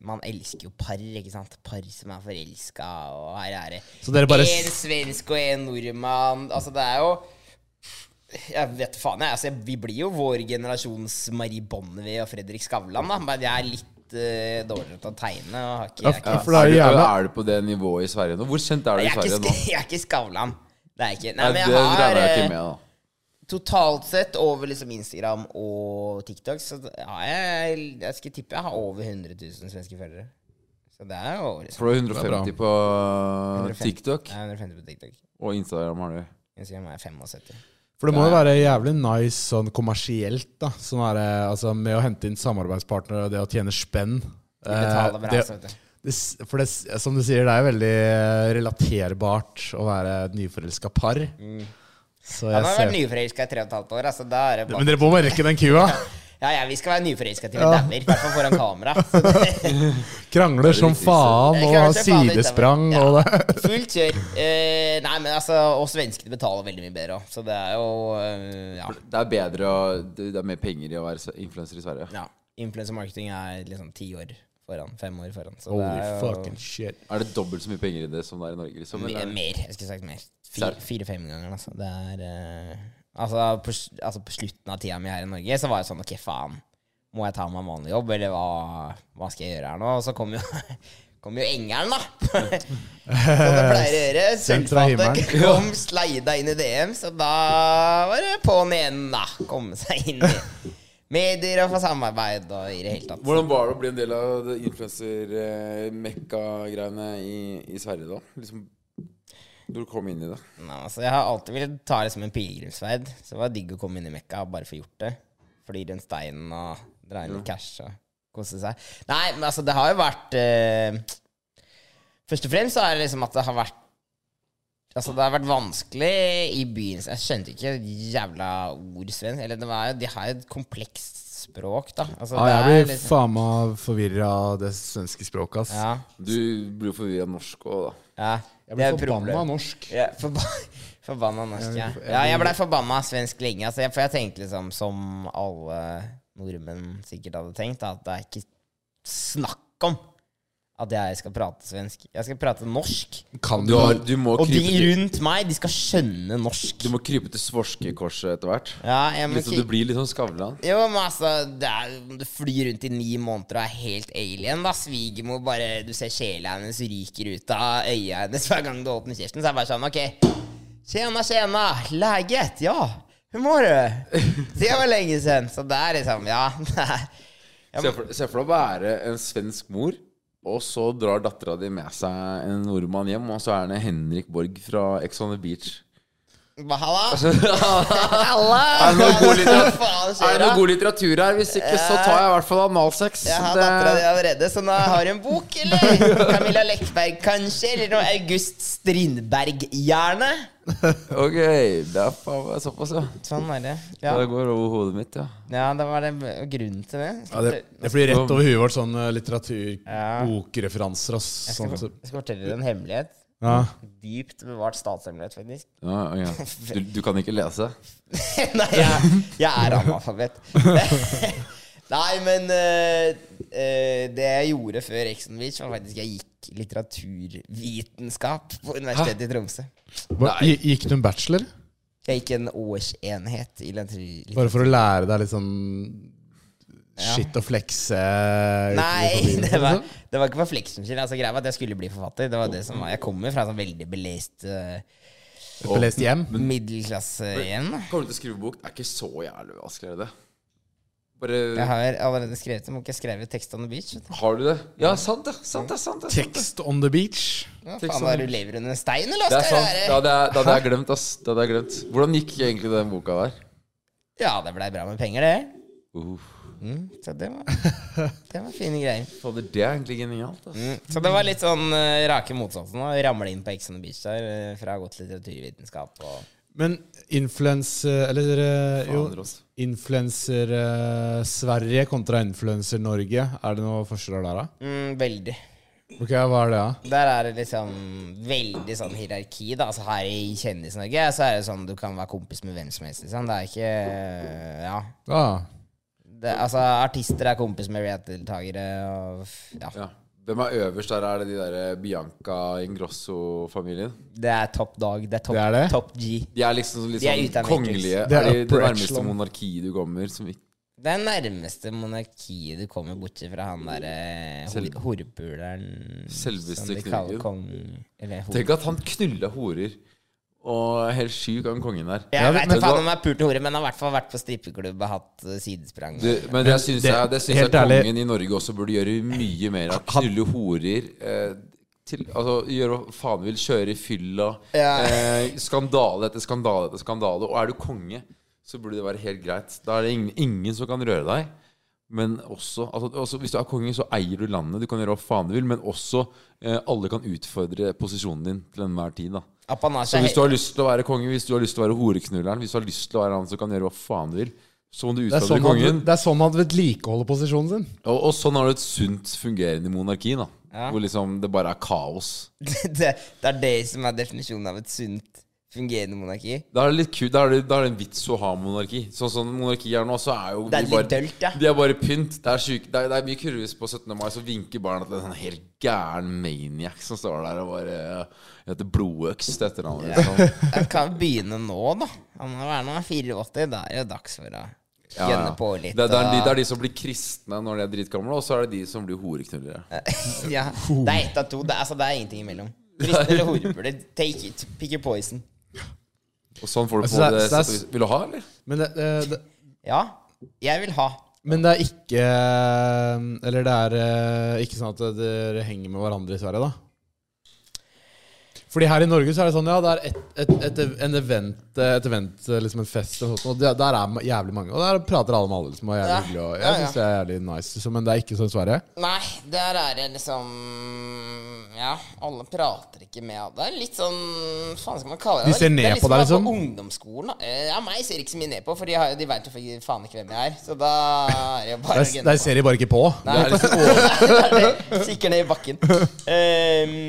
Speaker 4: man elsker jo par, ikke sant? Par som er forelska, og her er det
Speaker 5: Så dere bare
Speaker 4: En svensk og en nordmann. Altså, det er jo Jeg vet faen, jeg. Altså, vi blir jo vår generasjons Marie Bonnevie og Fredrik Skavlan, da. Men jeg er litt eh, dårligere til å tegne. Og har ikke, jeg, er ikke,
Speaker 5: Ja, for det er
Speaker 3: Er
Speaker 5: jo
Speaker 3: du-
Speaker 5: gjerne
Speaker 3: er du på det nivået i Sverige nå? Hvor kjent er du i
Speaker 4: jeg, er
Speaker 3: Sverige
Speaker 4: ikke,
Speaker 3: nå?
Speaker 4: sk- jeg er ikke Skavlan. Det er jeg ikke. Nei,
Speaker 3: Nei,
Speaker 4: men
Speaker 3: det
Speaker 4: jeg har
Speaker 3: regner jeg
Speaker 4: eh,
Speaker 3: ikke med, da.
Speaker 4: Totalt sett over liksom Instagram og TikTok Så har jeg Jeg skal tippe jeg har over 100 000 svenske følgere. Så det er jo over liksom.
Speaker 3: For du har 150 på
Speaker 4: 150.
Speaker 3: TikTok,
Speaker 4: Jeg er 150 på TikTok.
Speaker 3: og Instagram har du.
Speaker 4: Instagram er 75.
Speaker 5: For det må jo være jævlig nice sånn kommersielt, da. Sånn er, det, altså, med å hente inn samarbeidspartnere og det å tjene spenn. Eh,
Speaker 4: Betaler bra,
Speaker 5: det,
Speaker 4: så vet du.
Speaker 5: det, s- for det, s- som du sier, det er veldig eh, relaterbart å være et nyforelska par.
Speaker 4: Mm.
Speaker 5: Så
Speaker 4: Han
Speaker 5: jeg
Speaker 4: har vært
Speaker 5: ser
Speaker 4: nyforelska i 3 15 år. Altså, da er det
Speaker 5: Men
Speaker 4: bare
Speaker 5: dere må bare rekke den kua.
Speaker 4: Ja, ja, vi skal være nyforelska til vi
Speaker 5: Ja.
Speaker 4: dauer. I hvert fall foran kamera. Så det,
Speaker 5: Krangler som faen og har sidesprang og det.
Speaker 4: fullt kjør. Eh, nei, men altså Og svenskene betaler veldig mye bedre òg, så det er jo eh, Ja.
Speaker 3: Det er bedre å Det det er mer penger i å være influenser i Sverige.
Speaker 4: ja. Influencer marketing er liksom ti år foran. Fem år foran. Så det
Speaker 5: Holy
Speaker 4: er jo
Speaker 5: fucking shit.
Speaker 3: Er det dobbelt så mye penger i det som det er i Norge? Liksom,
Speaker 4: Mye
Speaker 3: eller?
Speaker 4: mer. Jeg skulle sagt mer.
Speaker 3: Sær-
Speaker 4: Fire-fem ganger, altså. Det er eh, altså, på, s- altså, på slutten av tida mi her i Norge, så var jeg sånn OK, faen. Må jeg ta meg en vanlig jobb, eller hva, hva skal jeg gjøre her nå? Og så kom jo, kom jo engelen, da. Som det pleier å gjøre.
Speaker 5: Sendt fra
Speaker 4: Sølvfatet kom sleida inn i DM, så da var det på'n igjen, da. Komme seg inn i medier og få samarbeid og i det hele tatt.
Speaker 3: Hvordan var det å bli en del av det influenser-mekka-greiene i, i Sverige, da? Liksom, når du kom inn i det?
Speaker 4: Nei, altså, jeg har alltid villet ta det som en pilegrimsferd. Så det var digg å komme inn i Mekka og bare få gjort det. Fly rundt steinen og dra inn litt cash og kose seg. Nei, men altså, det har jo vært eh, Først og fremst så er det liksom at det har vært Altså, det har vært vanskelig i byen. Jeg skjønte ikke jævla ord svensk. Eller det var jo De har jo et komplekst språk, da. Altså,
Speaker 5: Ja,
Speaker 4: det
Speaker 5: Ah, jeg
Speaker 4: er
Speaker 5: blir
Speaker 4: liksom-
Speaker 5: faen meg forvirra av det svenske språket, ass.
Speaker 4: Ja.
Speaker 3: Du blir jo forvirra norsk òg, da.
Speaker 4: ja.
Speaker 5: Jeg
Speaker 4: det er
Speaker 5: blir
Speaker 4: problem.
Speaker 5: forbanna av norsk.
Speaker 4: Ja, forba forbanna norsk, ja. Ja, jeg blei forbanna svensk lenge. Altså, jeg, for jeg tenkte liksom som alle nordmenn sikkert hadde tenkt, at det er ikke snakk om at jeg skal prate svensk. Jeg skal prate norsk.
Speaker 5: Kan
Speaker 3: Du,
Speaker 5: du ha
Speaker 3: har, du, må
Speaker 4: Og de
Speaker 3: krype til,
Speaker 4: rundt meg, de skal skjønne norsk.
Speaker 3: du må krype til svorskekorset etter hvert.
Speaker 4: Ja, jeg må
Speaker 3: Litt så du
Speaker 4: ikke-
Speaker 3: blir litt sånn Skavlan.
Speaker 4: Jo, men altså, det er, om du flyr rundt i ni måneder og er helt alien, da. Svigermor bare Du ser sjela hennes ryker ut av øya hennes hver gang du åpner kjeften. Så er det bare sånn, OK. Tjena, tjena. Læget? Ja. Hur mår du? Det var lenge siden. Så det er liksom Ja. Det er. Ja,
Speaker 3: Se for se for deg å være en svensk mor, og så drar dattera di med seg en nordmann hjem, og så er det Henrik Borg fra Ex on the Beach.
Speaker 4: Hva, Halla! Halla!
Speaker 3: Er det noe god litteratur-
Speaker 4: Faen,
Speaker 3: Er det
Speaker 4: skjer'a?
Speaker 3: noe god litteratur her? Hvis ikke, så tar jeg i hvert fall analsex.
Speaker 4: Jeg har
Speaker 3: Det-
Speaker 4: dattera di allerede, så nå har du en bok, eller? Camilla Lekberg, kanskje? Eller noe August Strindberg, gjerne?
Speaker 3: Ok, det er faen meg såpass, ja.
Speaker 4: Sånn er det. Ja,
Speaker 3: Det går over hodet mitt, ja.
Speaker 4: ja det var det grunnen til det.
Speaker 5: ja, det, det blir rett over huet vårt, sånn eh, litteratur,
Speaker 4: Ja.
Speaker 5: bokreferanser og
Speaker 4: Jeg skal,
Speaker 5: sånn.
Speaker 4: for-
Speaker 5: så-
Speaker 4: jeg skal fortelle dere en hemmelighet.
Speaker 5: Ja.
Speaker 4: Dypt bevart statshemmelighet, faktisk.
Speaker 3: ja, ja. Du, du kan ikke lese?
Speaker 4: Nei, jeg, jeg er analfabet. Nei, men eh, eh, det jeg gjorde før Exxon Beach, var faktisk jeg gikk litteraturvitenskap på Universitetet i Tromsø.
Speaker 5: Hva- gi- Gikk du en bachelor?
Speaker 4: Jeg gikk en årsenhet i litteratur...
Speaker 5: Bare for å lære deg litt sånn shit å flekse? eh,
Speaker 4: Nei,
Speaker 5: utenfor
Speaker 4: det var,
Speaker 5: bilen, liksom?
Speaker 4: det var ikke for fleksen sin. Altså, greia var at jeg skulle bli forfatter. Det var det som var. Jeg kommer fra en sånn veldig belest eh,
Speaker 5: På lest hjem?
Speaker 4: middelklasse igjen. da.
Speaker 3: Kommer du til å skrive bok? Det er ikke så jævlig vanskelig, er det.
Speaker 4: Jeg
Speaker 3: Bare
Speaker 4: har allerede skrevet det. Må ikke jeg skrive tekst on the beach. Vet du.
Speaker 3: Har du det? Ja, sant det. Sant det, sant det. sant det.
Speaker 5: Tekst on the beach?
Speaker 4: Ja,
Speaker 3: Tekst
Speaker 4: faen,
Speaker 3: on the
Speaker 4: da du lever under en stein, eller?
Speaker 3: Det
Speaker 4: hva
Speaker 3: er
Speaker 4: skal
Speaker 3: sant.
Speaker 4: jeg
Speaker 3: Det
Speaker 4: gjøre?
Speaker 3: hadde jeg, det hadde jeg glemt, ass. Det hadde jeg glemt. Hvordan gikk egentlig den boka der?
Speaker 4: Ja, det blei bra med penger, det.
Speaker 3: Uh,
Speaker 4: Mm, så det var, det var fine greier.
Speaker 3: fader, det er egentlig genialt, ass.
Speaker 4: Mm, så det var litt sånn eh, rake motsatsen. Å ramle inn på Ex on the beach der, eh, fra godt litteraturvitenskap og
Speaker 5: Men influense... Eller eh,
Speaker 3: Fader,
Speaker 5: jo,
Speaker 3: ass.
Speaker 5: influenser-Sverige kontra influenser-Norge. Er det noe forskjeller der, da?
Speaker 4: mm, Veldig.
Speaker 5: Ok, Hva er det, da?
Speaker 4: Der er det liksom veldig sånn hierarki. da Altså Her i Kjendis-Norge så er det sånn du kan være kompis med hvem som helst. liksom Det er ikke Ja.
Speaker 5: Ah,
Speaker 4: Det, altså Artister er kompis med reality-deltakere og ja.
Speaker 3: Ja. Hvem er øverst der? Er det de der Bianca Ingrosso-familien?
Speaker 4: Det er top dog. Det er top,
Speaker 5: Det er det?
Speaker 4: top G.
Speaker 3: De er liksom litt
Speaker 4: De er
Speaker 3: sånn
Speaker 4: ute av Matrix.
Speaker 3: kongelige.
Speaker 5: Det
Speaker 3: Det
Speaker 5: er
Speaker 3: er de det
Speaker 5: upper
Speaker 3: nærmeste
Speaker 5: echelon.
Speaker 3: monarkiet du kommer. Som ikke
Speaker 4: Det er nærmeste monarkiet du kommer borti fra han derre horpuleren
Speaker 3: Selveste
Speaker 4: som de
Speaker 3: knurken.
Speaker 4: kaller kong Eller hor...
Speaker 3: Tenk at han knulla horer. Og helt sjuk, han kongen der.
Speaker 4: Jeg vet ikke
Speaker 3: Men
Speaker 4: faen
Speaker 3: hva-
Speaker 4: om jeg har pult hore, men han har i hvert fall vært på strippeklubb og hatt eh, sidesprang.
Speaker 3: Du, men det syns
Speaker 5: det-
Speaker 3: jeg, det syns jeg
Speaker 5: helt ærlig-
Speaker 3: kongen i Norge også burde gjøre mye mer av. Knulle horer. Eh, til, altså, gjøre hva faen vil. Kjøre i fylla.
Speaker 4: Ja.
Speaker 3: Eh, skandale etter skandale etter skandale. Og er du konge, så burde det være helt greit. Da er det ingen, ingen som kan røre deg. Men også, altså, også Hvis du er konge, så eier du landet. Du kan gjøre hva faen du vil. Men også eh, alle kan utfordre posisjonen din til enhver tid. da så
Speaker 4: Apanasje er
Speaker 3: hvis du har lyst til å være konge, hvis du har lyst til å være horeknulleren, hvis du har lyst til å være han som kan gjøre hva faen du vil, så må du
Speaker 5: det, er
Speaker 3: utfordre
Speaker 5: sånn han,
Speaker 3: kongen.
Speaker 5: det er sånn han vedlikeholder posisjonen sin.
Speaker 3: Og, og sånn har du et sunt fungerende monarki, da. Hvor liksom det bare er kaos.
Speaker 4: helt- det, det er det som er definisjonen av et sunt, fungerende monarki.
Speaker 3: Da er det litt kult, da er det, da er det en vits å ha monarki. Sånn som monarki er nå, så er jo
Speaker 4: Det er
Speaker 3: de
Speaker 4: litt
Speaker 3: bare,
Speaker 4: dølt, ja.
Speaker 3: De er bare pynt. Det er, syke, det er, det er mye kurvis på 17. mai, så vinker barna til en sånn helt gæren maniac som står der og bare eh, heter Blodøks til etternavnet. Liksom.
Speaker 4: Jeg kan begynne nå, da. Han må være nå 84. Da er det jo dags for å
Speaker 3: Ja,
Speaker 4: gønne
Speaker 3: ja.
Speaker 4: på litt.
Speaker 3: Det, det, er de,
Speaker 4: og-
Speaker 3: det er de som blir kristne når de er dritgamle, og så er det de som blir horeknullere.
Speaker 4: ja. det er ett av to. Det, er- altså, det er ingenting imellom. Kristne eller horepuler. Take it. Pick your poison.
Speaker 3: Og sånn får du
Speaker 5: Altså,
Speaker 3: på
Speaker 5: det er-
Speaker 3: det,
Speaker 5: det er-
Speaker 3: settet. Vil du ha, eller?
Speaker 5: Men det, det, det,
Speaker 4: Ja, jeg vil ha.
Speaker 5: men det er ikke Eller det er eh, ikke sånn at dere henger med hverandre i Sverige, da? Fordi her i Norge så er det sånn, ja, det er et, et, et, en event, et event, eh, liksom en fest eller noe sånt, og der, der er ma- jævlig mange, og der prater alle med alle, liksom, og er jævlig
Speaker 4: Ja,
Speaker 5: hyggelig, og jeg
Speaker 4: ja, ja.
Speaker 5: synes det er jævlig nice, liksom, men det er ikke sånn i Sverige.
Speaker 4: Nei, der er det liksom Ja, alle prater ikke med Det er litt sånn Hva faen skal man kalle det?
Speaker 5: De ser
Speaker 4: Det er
Speaker 5: ned
Speaker 4: litt-
Speaker 5: på
Speaker 4: Det er litt som å
Speaker 5: deg,
Speaker 4: være
Speaker 5: liksom?
Speaker 4: på ungdomsskolen. da. Eh, Ja, meg ser ikke så mye ned på, for de, har, de vet jo fa- faen ikke hvem jeg er. Så da er det jo bare å
Speaker 5: Der, der
Speaker 4: gønne på.
Speaker 5: ser de bare ikke på.
Speaker 3: Det er liksom over-
Speaker 4: Det Kikker ned i bakken. Ehm,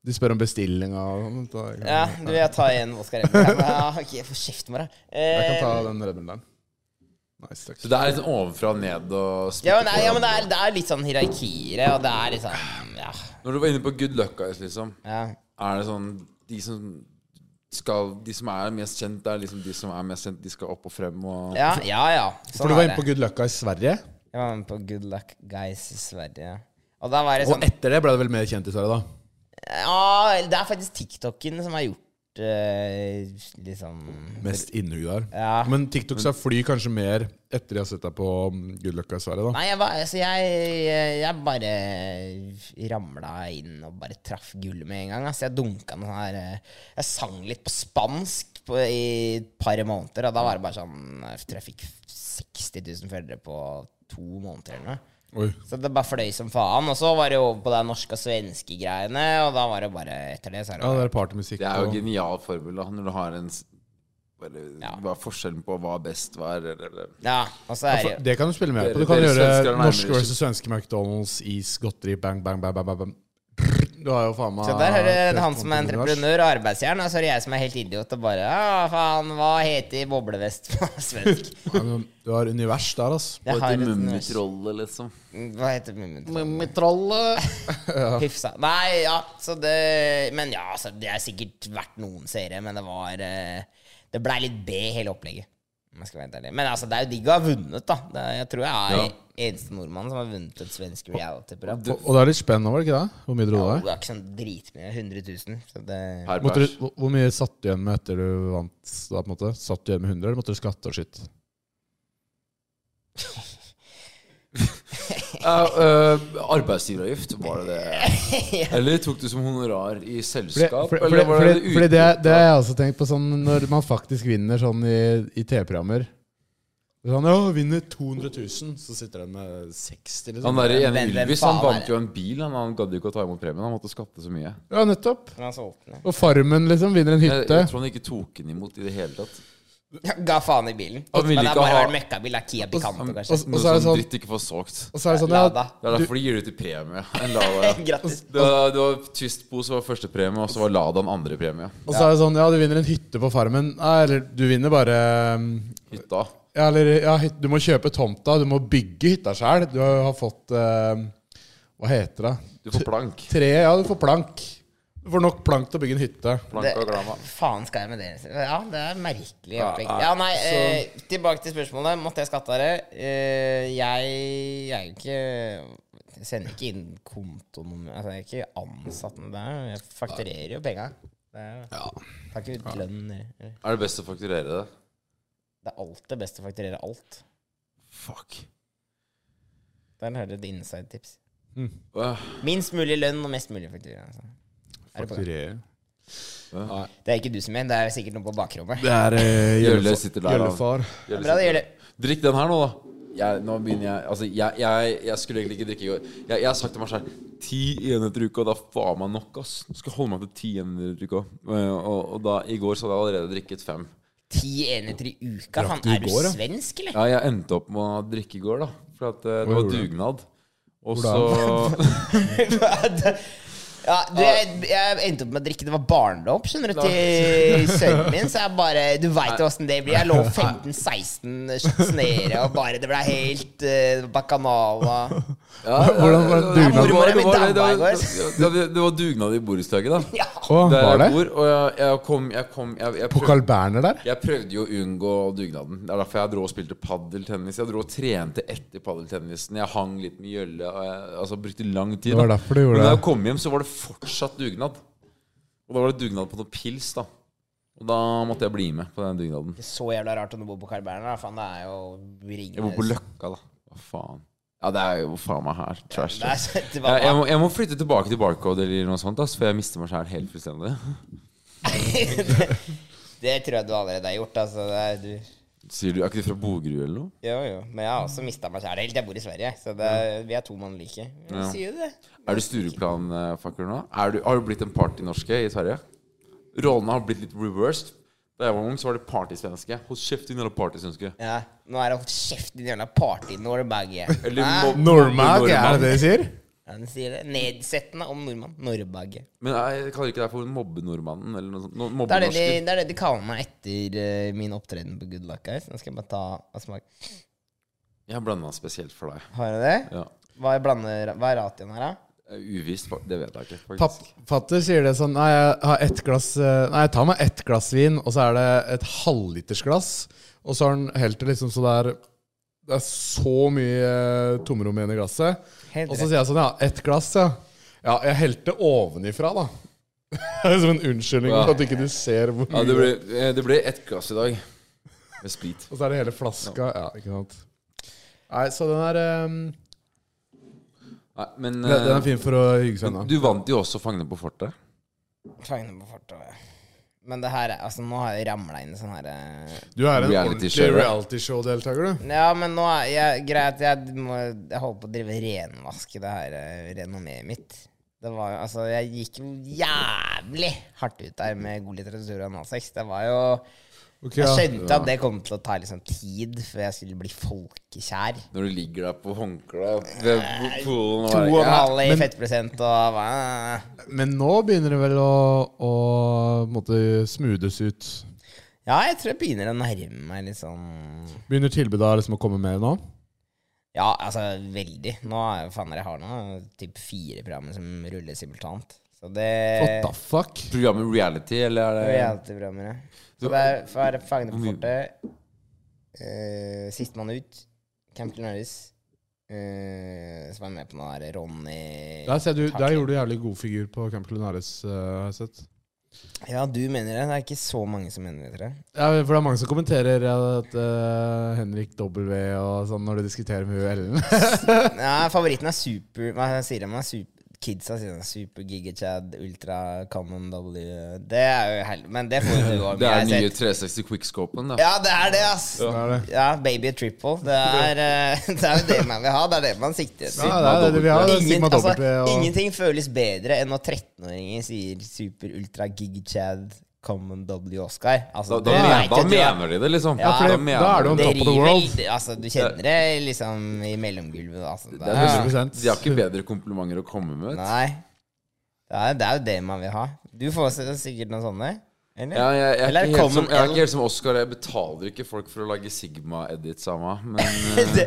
Speaker 5: De spør om bestilling og sånt. og-
Speaker 4: ja, du, jeg tar en vodka Red Bull. Ja, men, ja, ok, jeg får kjeft med deg.
Speaker 5: Jeg kan
Speaker 4: Ehm,
Speaker 5: ta den Red Bullen der. Nice, takk.
Speaker 3: Så det er litt sånn ovenfra og ned og
Speaker 4: Ja,
Speaker 3: spytte
Speaker 4: men, nei, ja, men det, er, det er litt sånn hierarkier, og det er litt sånn Ja.
Speaker 3: på. Når du var inne på Good Luck Guys, liksom,
Speaker 4: ja.
Speaker 3: er det sånn De som skal De som er mest kjent, det er liksom de som er mest kjent, de skal opp og frem og
Speaker 4: Ja, ja. ja. Sånn
Speaker 5: For du var
Speaker 4: er
Speaker 5: inne
Speaker 4: det.
Speaker 5: på Good Lucka i Sverige,
Speaker 4: Jeg var med på Good Luck Guys i Sverige. Og da var det
Speaker 5: og
Speaker 4: sånn
Speaker 5: etter det ble det vel mer kjent i Sverige, da?
Speaker 4: Ja, det er faktisk TikToken som har gjort eh, liksom
Speaker 5: Mest innhugg der.
Speaker 4: Ja.
Speaker 5: Men TikTok skal fly kanskje mer etter de har sett deg på mm, Good Lucka i Sverige, da.
Speaker 4: Nei, jeg, var, altså jeg, jeg bare ramla inn og bare traff gullet med en gang. Altså jeg dunka noe her eh, Jeg sang litt på spansk på, i et par måneder, og da var det bare sånn Jeg tror jeg fikk 60 000 følgere på to måneder eller noe.
Speaker 5: Oi.
Speaker 4: Så det bare fløy som faen. Og så var det over på det norske og svenske greiene, og da var det bare etter det. Så er det
Speaker 5: Ja, det
Speaker 4: bare,
Speaker 5: er partymusikk.
Speaker 3: Det er jo
Speaker 5: og-
Speaker 3: genial formel, da, når du har en s- bare,
Speaker 4: Ja.
Speaker 3: Hva er forskjellen på hva er best, hva er eller, eller.
Speaker 4: ja, og så er det jo
Speaker 5: Det kan du spille med på. Du
Speaker 3: Dere-
Speaker 5: kan
Speaker 3: dere svensker
Speaker 5: gjøre
Speaker 3: er
Speaker 5: norske
Speaker 3: nærmere.
Speaker 5: versus svenske McDonald's, is, godteri, bang, bang, bang, bang, bang, bang. Du har jo faen meg
Speaker 4: Så der er det
Speaker 5: tre
Speaker 4: han som er
Speaker 5: måneder univers.
Speaker 4: entreprenør og arbeidsjern, og så er det jeg som er helt idiot og bare Ja, faen, hva heter boblevest på svensk?
Speaker 5: Ja, men Du har univers der, altså.
Speaker 3: Hva
Speaker 4: Jeg har sånn
Speaker 3: heter
Speaker 4: et
Speaker 3: Mummitrollet, liksom?
Speaker 4: Mm, Hva heter mummitroll?
Speaker 5: Mummitrollet.
Speaker 4: Hyfsa. Nei, ja, så det Men ja, altså, det er sikkert vært noen seere, men det var eh, Det blei litt B hele opplegget. om jeg skal være helt ærlig. Men altså, det er jo digg å ha vunnet, da. Det er, jeg tror jeg er
Speaker 3: Ja.
Speaker 4: eneste nordmann som har vunnet et svensk reality-program.
Speaker 5: Og og det er litt spennende, var det ikke det? Hvor mye dro
Speaker 4: Det
Speaker 5: det deg?
Speaker 4: er ikke sånn dritmye. 100 000. Så det
Speaker 3: Per
Speaker 5: Måtte
Speaker 3: pers.
Speaker 5: du, hvor- hvor mye satt du igjen med etter du vant? Da, på en måte? Satt du igjen med 100, eller måtte du skatte og skitt?
Speaker 3: Eh, eh, arbeidsgiveravgift, var det det? Eller tok du som honorar i
Speaker 5: Fordi,
Speaker 3: selskap?
Speaker 5: fordi,
Speaker 3: eller var
Speaker 5: fordi,
Speaker 3: det
Speaker 5: fordi det,
Speaker 3: utbytte?
Speaker 5: det har jeg også tenkt på sånn når man faktisk vinner sånn i, i TV-programmer. Sånn, ja, vinner 200 000, så sitter den med 60
Speaker 3: Han
Speaker 5: liksom.
Speaker 3: der ene
Speaker 4: Hvem- hvem
Speaker 3: Ylvis han
Speaker 4: faen er
Speaker 3: vant
Speaker 4: det?
Speaker 3: jo en bil. Han, han gadd jo ikke å ta imot premien. Han måtte skatte så mye.
Speaker 5: Ja, nettopp.
Speaker 4: Men han solgte den.
Speaker 5: Og Farmen liksom vinner en
Speaker 3: Jeg,
Speaker 5: hytte.
Speaker 3: jeg tror han ikke tok den imot i det hele tatt.
Speaker 4: Jeg Ga faen i bilen.
Speaker 3: Han ville
Speaker 4: Men det
Speaker 3: ikke
Speaker 4: er bare
Speaker 3: ha-
Speaker 4: vært møkkabil. Det er Kia Picanto,
Speaker 3: Han,
Speaker 4: kanskje.
Speaker 5: og
Speaker 3: noe
Speaker 5: så er det
Speaker 3: sånn
Speaker 5: sånn-
Speaker 3: dritt ikke får solgt.
Speaker 5: Og så er det sånn,
Speaker 4: Lada.
Speaker 5: ja,
Speaker 3: Det er derfor de gir ut i premie. En Lada.
Speaker 4: Grattis.
Speaker 3: Det var, det var Twistbo som var første premie, og så var Ladaen andre premie.
Speaker 5: og så er det sånn, ja, du vinner en hytte på Farmen. Nei, eller du vinner bare um,
Speaker 3: Hytta.
Speaker 5: ja, eller, ja, hyt- Du må kjøpe tomta, du må bygge hytta sjøl. Du har, har fått um, Hva heter det?
Speaker 3: Du får plank.
Speaker 5: Tre, ja, du får plank. Du får nok plank til å bygge en hytte.
Speaker 3: Plank og glama.
Speaker 4: Faen skal jeg med det? Ja, det er merkelig opplegg. Ja, nei, eh, tilbake til spørsmålet. Måtte jeg skatte av det? Eh, jeg, jeg er jo ikke jeg sender ikke inn kontonummer altså, Jeg er ikke ansatt med det. her. Jeg fakturerer jo penga. Det er, Tar ikke ut lønn. eller-
Speaker 3: Er det best å fakturere det?
Speaker 4: Det er alltid best å fakturere alt.
Speaker 3: Fuck.
Speaker 4: Der har du et inside-tips.
Speaker 3: Åh,
Speaker 4: Minst mulig lønn og mest mulig faktura. Altså. Er det på gang?
Speaker 5: Fakturere.
Speaker 4: Det er ikke du som er, det er sikkert noe på bakrommet.
Speaker 5: Det er eh,
Speaker 3: Gjølle sitter der, han.
Speaker 5: Gjøllefar.
Speaker 3: Gjølle
Speaker 4: Bra,
Speaker 3: sitter-
Speaker 4: det gjør det.
Speaker 3: Drikk den her nå, da. Jeg, nå begynner jeg Altså, jeg, jeg, jeg skulle egentlig ikke drikke i går. Jeg, jeg har sagt til meg selv ti enheter i uka, og da faen meg nok, ass. Nå skal jeg holde meg til ti enheter i uka. Eh, Og, og da, i går så hadde jeg allerede drikket fem.
Speaker 4: Ti enheter i uka? Faen,
Speaker 5: du i
Speaker 4: er du
Speaker 5: går, da?
Speaker 4: svensk, eller?
Speaker 3: Ja, jeg endte opp med å drikke i går, da. For at eh,
Speaker 5: Hva
Speaker 3: det var
Speaker 5: gjorde du?
Speaker 3: dugnad. Og så
Speaker 5: Hvordan?
Speaker 4: ja, du, jeg, jeg endte opp med å drikke Det var barndom, skjønner du, til sønnen min. Så jeg bare Du veit jo åssen det blir. Jeg lå 15-16 shots nede, og bare Det ble helt uh, bacanala.
Speaker 3: ja,
Speaker 5: Hvordan var
Speaker 3: ja,
Speaker 5: dugnad?
Speaker 3: det var- det var-
Speaker 4: Mormor er min
Speaker 3: det var-
Speaker 4: dama i går.
Speaker 3: det var- Det var dugnad i borettslaget, da.
Speaker 4: Ja.
Speaker 5: Å,
Speaker 3: Der
Speaker 5: Ah, var det?
Speaker 3: jeg bor. Og jeg, jeg kom Jeg, kom, jeg, jeg
Speaker 5: På
Speaker 3: prøvde-
Speaker 5: Carl Berner der?
Speaker 3: Jeg prøvde jo å unngå dugnaden. Det er derfor jeg dro og spilte paddeltennis. Jeg dro og trente etter paddeltennisen. Jeg hang litt med gjølle. og jeg- Altså brukte lang tid.
Speaker 5: Det var
Speaker 3: da.
Speaker 5: derfor du gjorde
Speaker 3: Men da jeg
Speaker 5: det.
Speaker 3: kom hjem, så var det fortsatt dugnad. Og da var det dugnad på noe pils, da. Og da måtte jeg bli med på den dugnaden.
Speaker 4: Så jævla rart om du bor på Carl Berner. da. Faen, det er jo
Speaker 3: Jeg bor på
Speaker 4: ringende
Speaker 3: Løkka, da. Hva faen. Ja, det er jo faen meg her. Trash. altså.
Speaker 4: Det er så- det
Speaker 3: Jeg, jeg,
Speaker 4: var-
Speaker 3: må, jeg må flytte tilbake til barcode eller noe sånt, ass, for jeg mister meg sjæl helt fullstendig.
Speaker 4: Det tror jeg du allerede har gjort. Altså, det er, du,
Speaker 3: Sier du, Er ikke du fra Bogerud eller noe?
Speaker 4: jo, jo. Men jeg har også mista meg sjæl helt. Jeg bor i Sverige, så det er, vi er to mann like. Ja. Sier du det?
Speaker 3: Er du Stureplan-fucker nå? Er du, har du blitt en partynorske i Sverige? Rollene har blitt litt reversed. Da jeg var ung, så var det partysvenske. Hold kjeft, din jævla partysvenske.
Speaker 4: Ja. Nå er det hold kjeft, din jævla party-Norberg.
Speaker 3: Eller
Speaker 4: Hæ?
Speaker 3: mob-
Speaker 5: Normag, er
Speaker 3: nordmann.
Speaker 5: det det de sier?
Speaker 4: Ja, den sier det. Nedsettende om nordmann. Norrbagge.
Speaker 3: Men eh, jeg kaller ikke deg for mobbenordmannen eller noe sånt. No,
Speaker 4: Det er det de,
Speaker 3: Mobbenorsker.
Speaker 4: det er det de kaller meg etter eh, min opptreden på Good Luck Guys. Nå skal jeg bare ta og smake.
Speaker 3: Jeg har blanda spesielt for deg.
Speaker 4: Har du det?
Speaker 3: Ja.
Speaker 4: Hva er, blander, hva er ratioen her, da?
Speaker 3: Uvisst, fa- det vet jeg ikke. faktisk.
Speaker 5: Papp, fatter sier det sånn Nei, jeg har ett glass eh, Nei, jeg tar meg ett glass vin, og så er det et halvlitersglass. Og så har han helt det liksom så det er Det er så mye eh, tomrom igjen i glasset.
Speaker 4: Helt
Speaker 5: Og
Speaker 4: rett.
Speaker 5: så sier jeg sånn Ja, ett glass, ja. Ja, jeg helte ovenifra, da. Det er liksom en unnskyldning
Speaker 3: Ja.
Speaker 5: for at ikke du ser hvor
Speaker 3: Ja,
Speaker 5: mye
Speaker 3: det ble, eh, det ble ett glass i dag. Med sprit.
Speaker 5: Og så er det hele flaska. Ja, ikke sant. Nei, så den er eh,
Speaker 3: Nei, men
Speaker 5: den, den
Speaker 3: eh,
Speaker 5: er fin for å hygge seg
Speaker 3: men
Speaker 5: med.
Speaker 3: du vant jo også Fangene på fortet.
Speaker 4: Fangene på fortovet. Men det her er, altså, nå har jeg ramla inn i sånn her eh,
Speaker 5: Du er en
Speaker 3: Reality
Speaker 5: ordentlig
Speaker 3: show, ja.
Speaker 5: realityshow-deltaker, du.
Speaker 4: Ja, men nå er jeg, greit, jeg, må, jeg holder på å drive renvaske det her eh, renommeet mitt. Det var jo, altså, jeg gikk jo jævlig hardt ut der med god litteratur og analsex. Det var jo
Speaker 5: Ok,
Speaker 4: Jeg
Speaker 5: ja.
Speaker 4: skjønte at det kom til å ta liksom tid før jeg skulle bli folkekjær.
Speaker 3: Når du ligger der på håndkleet ved po- poolen og
Speaker 4: To og
Speaker 3: bare,
Speaker 4: en
Speaker 3: ja.
Speaker 4: halv i
Speaker 5: men-
Speaker 4: fettprosent og hva
Speaker 5: Men nå begynner det vel å, å på en måte smoothes ut.
Speaker 4: Ja, jeg tror jeg begynner å nærme meg litt sånn
Speaker 5: Begynner tilbudet liksom å komme mer nå?
Speaker 4: Ja, altså veldig. Nå er jo faen jeg har nå typ fire programmer som ruller simultant. Så det
Speaker 5: What
Speaker 4: Eh.
Speaker 5: the fuck?
Speaker 3: Programmet reality, eller er
Speaker 4: Det er
Speaker 3: det
Speaker 4: Reality-programmer, ja. Så det er for å være Fangene på
Speaker 3: Hvor mye-
Speaker 4: fortet, uh, Sistemann ut, Camp Lenaris, eh, som er med på den der Ronny
Speaker 5: Der, ser du, der gjorde du jævlig god figur på Camp Culinaris, eh, har jeg sett.
Speaker 4: Ja, du mener det. Det er ikke så mange som mener det, tror jeg.
Speaker 5: Ja, for det er mange som kommenterer at eh, Henrik W og sånn når de diskuterer med hun Ellen.
Speaker 4: Nei, favoritten er super Hva sier de? Super, kidsa sier de super gigachad, ultra common W Det er jo heldig, men det får jo du òg.
Speaker 3: Det er den nye 360 Quickscopen, da.
Speaker 4: Ja, det er det, ass.
Speaker 5: Det er det.
Speaker 4: Ja, baby triple. Det er, eh, det er jo det man vil ha. Det er det man sikter etter.
Speaker 5: Ja, det er det vi har. det er
Speaker 4: Ingen,
Speaker 5: Sigma
Speaker 4: altså,
Speaker 5: W og
Speaker 4: Ingenting føles bedre enn når 13-åringer sier super ultra gig chad common W Oscar.
Speaker 3: Da,
Speaker 4: Altså,
Speaker 3: da,
Speaker 4: du
Speaker 3: men-
Speaker 4: vet
Speaker 3: da
Speaker 4: at du har-
Speaker 3: mener de det, liksom.
Speaker 4: Ja, for det-
Speaker 3: mener
Speaker 5: da er det jo
Speaker 3: de
Speaker 4: det
Speaker 5: en top of the
Speaker 4: river
Speaker 5: world.
Speaker 4: i- Altså, du kjenner det liksom i mellomgulvet. Altså, det
Speaker 3: Det
Speaker 4: er,
Speaker 3: er-
Speaker 5: 100%.
Speaker 3: De har ikke bedre komplimenter å komme med. vet du.
Speaker 4: nei. Det er, det er jo det man vil ha. Du får s- sikkert noen sånne? Eller?
Speaker 3: Ja, jeg, jeg,
Speaker 4: Eller
Speaker 3: er ikke helt
Speaker 4: common
Speaker 3: som, jeg er
Speaker 4: L.
Speaker 3: ikke helt som Oscar. Jeg betaler ikke folk for å lage Sigma-edits av meg. Men eh,
Speaker 4: det,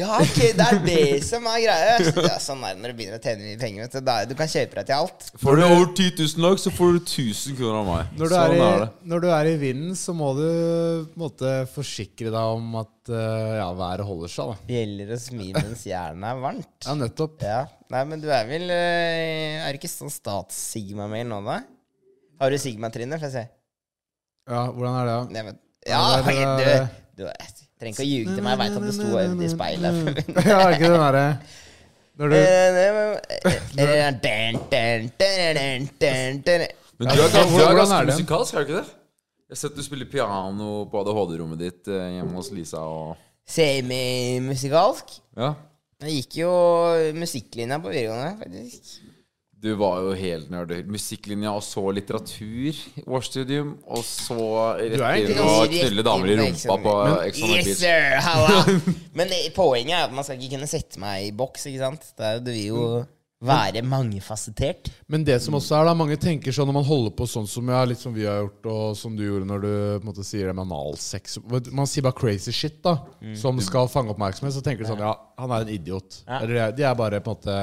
Speaker 4: ja, ok, det er det som er greia. Ja, sånn er det når du begynner å tjene mye penger. Vet du, da, er- du kan kjøpe deg til alt.
Speaker 3: får du over 10 000 lag, så får du 1000 kroner av meg.
Speaker 5: når du,
Speaker 3: sånn
Speaker 5: er i,
Speaker 3: er det.
Speaker 5: når du er i vinden, så må du på en måte forsikre deg om at eh, ja, været holder seg. da.
Speaker 4: Det gjelder å smi mens jernet er varmt.
Speaker 5: Ja, nettopp.
Speaker 4: Ja, Nei, men du er vel eh, Er du ikke sånn stats-sigma-mail nå, da? Har du sigma-trinnet? Får jeg se.
Speaker 5: Ja, Hvordan er det? da?
Speaker 4: Nei, men, ja,
Speaker 5: Ja, det er-
Speaker 4: du, du, jeg trenger ikke å ljuge til meg. Jeg veit at det sto i speilet. Eh,
Speaker 5: ja, er ikke den derre Når du
Speaker 3: Men du er,
Speaker 5: Ja,
Speaker 3: gans- du
Speaker 5: hvordan
Speaker 3: er
Speaker 5: er
Speaker 3: ganske
Speaker 5: det?
Speaker 3: musikalsk, er du ikke det? Jeg har sett du spiller piano på ADHD-rommet ditt eh, hjemme hos Lisa og
Speaker 4: Semimusikalsk.
Speaker 3: Ja.
Speaker 4: Jeg gikk jo musikklinja på videregående, faktisk.
Speaker 3: Du var jo helt nerd. Musikklinja, og så litteratur, Warstudium, og så
Speaker 5: Du
Speaker 3: rett
Speaker 5: er egentlig
Speaker 3: inn og
Speaker 4: ganske rett
Speaker 3: knulle damer i
Speaker 4: inn på
Speaker 3: rumpa på Ex
Speaker 4: Exxon Mobil.
Speaker 3: on the
Speaker 4: Yes,
Speaker 3: Beach.
Speaker 4: sir! Halla! Men eh, poenget er at man skal ikke kunne sette meg i boks, ikke sant? Det er jo, du vil jo være mangefasettert.
Speaker 5: Men det som også er da, mange tenker sånn når man holder på sånn som, ja, litt som vi har gjort, og som du gjorde når du på en måte sier det med analsex Vet du, Man sier bare crazy shit, da, som skal fange oppmerksomhet. Så tenker du sånn Ja, han er en idiot. Eller de er bare på en måte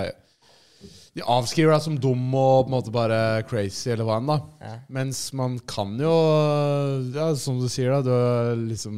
Speaker 5: De avskriver deg som dum og på en måte bare crazy, eller hva enn, da. Mens man kan jo Ja, som du sier, da, du er liksom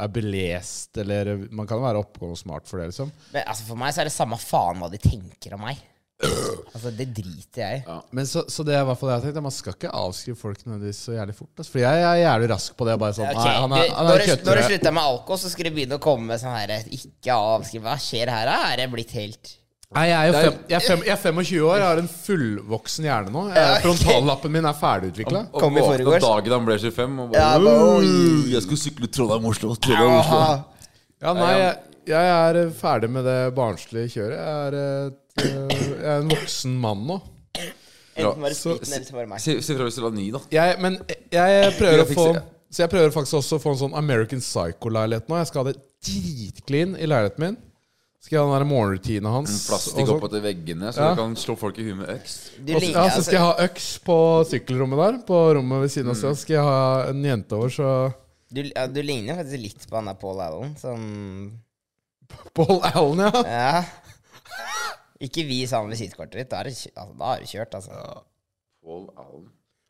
Speaker 5: er belest, eller Man kan jo være oppegående og smart for det, liksom.
Speaker 4: Men altså, for meg så er det samme faen hva de tenker om meg. Altså, det driter jeg i.
Speaker 5: Men så, så det er i hvert fall det jeg tenkte Man skal ikke avskrive folk nødvendigvis så jævlig fort. Altså. For jeg er jævlig rask på det. Bare sånn,
Speaker 4: Ok,
Speaker 5: nei, han er,
Speaker 4: du,
Speaker 5: han
Speaker 4: når, du, når
Speaker 5: er
Speaker 4: du
Speaker 5: køttere.
Speaker 4: slutter med alko, så skal du begynne å komme med sånn her Ikke avskriv. Hva skjer her? da? Er det blitt helt
Speaker 5: Nei, jeg er jo
Speaker 3: Det er-
Speaker 5: fem, jeg er fem, jeg er 25 år, jeg har en fullvoksen hjerne nå. Jeg,
Speaker 4: Ja, ok.
Speaker 5: Frontallappen min er ferdigutvikla.
Speaker 3: Og
Speaker 4: Kom i
Speaker 3: våkna
Speaker 4: forgårs.
Speaker 3: dagen han ble 25 og bare
Speaker 4: Ja, bare, oi.
Speaker 3: «Øh, Jeg skulle sykle Trondheim-Oslo. Trondheim-Oslo.
Speaker 5: Ja, nei, jeg, jeg er eh, ferdig med det barnslige kjøret. Jeg er, et, eh, jeg er en voksen mann nå.
Speaker 4: Enten var det
Speaker 3: Så-
Speaker 4: spriten, eller så var det meg.
Speaker 3: Si si fra hvis du var ny, da.
Speaker 5: Jeg, men jeg prøver
Speaker 3: Jeg
Speaker 5: å få
Speaker 3: fikser det.
Speaker 5: Så jeg prøver faktisk også å få en sånn American Psycho-leilighet nå. Jeg skal ha det dritclean i leiligheten min. Skal jeg ha den der morgenrutinen hans. og
Speaker 3: Plastikk
Speaker 5: sånn.
Speaker 3: oppetter veggene, så
Speaker 5: Ja.
Speaker 3: du kan slå folk i huet med øks.
Speaker 4: Du
Speaker 5: Og så-
Speaker 4: liker-
Speaker 5: ja, så
Speaker 4: altså- Mm.
Speaker 5: skal jeg ha øks på sykkelrommet der. På rommet ved siden av seg skal jeg ha en jente over, så
Speaker 4: Du, ja, du ligner faktisk litt på han der Paul Allen. Sånn
Speaker 5: Paul Allen, ja.
Speaker 4: Ja. Ikke vis han visittkortet ditt. Da er det kjø- altså, da er det kjørt, altså.
Speaker 3: Paul Allen.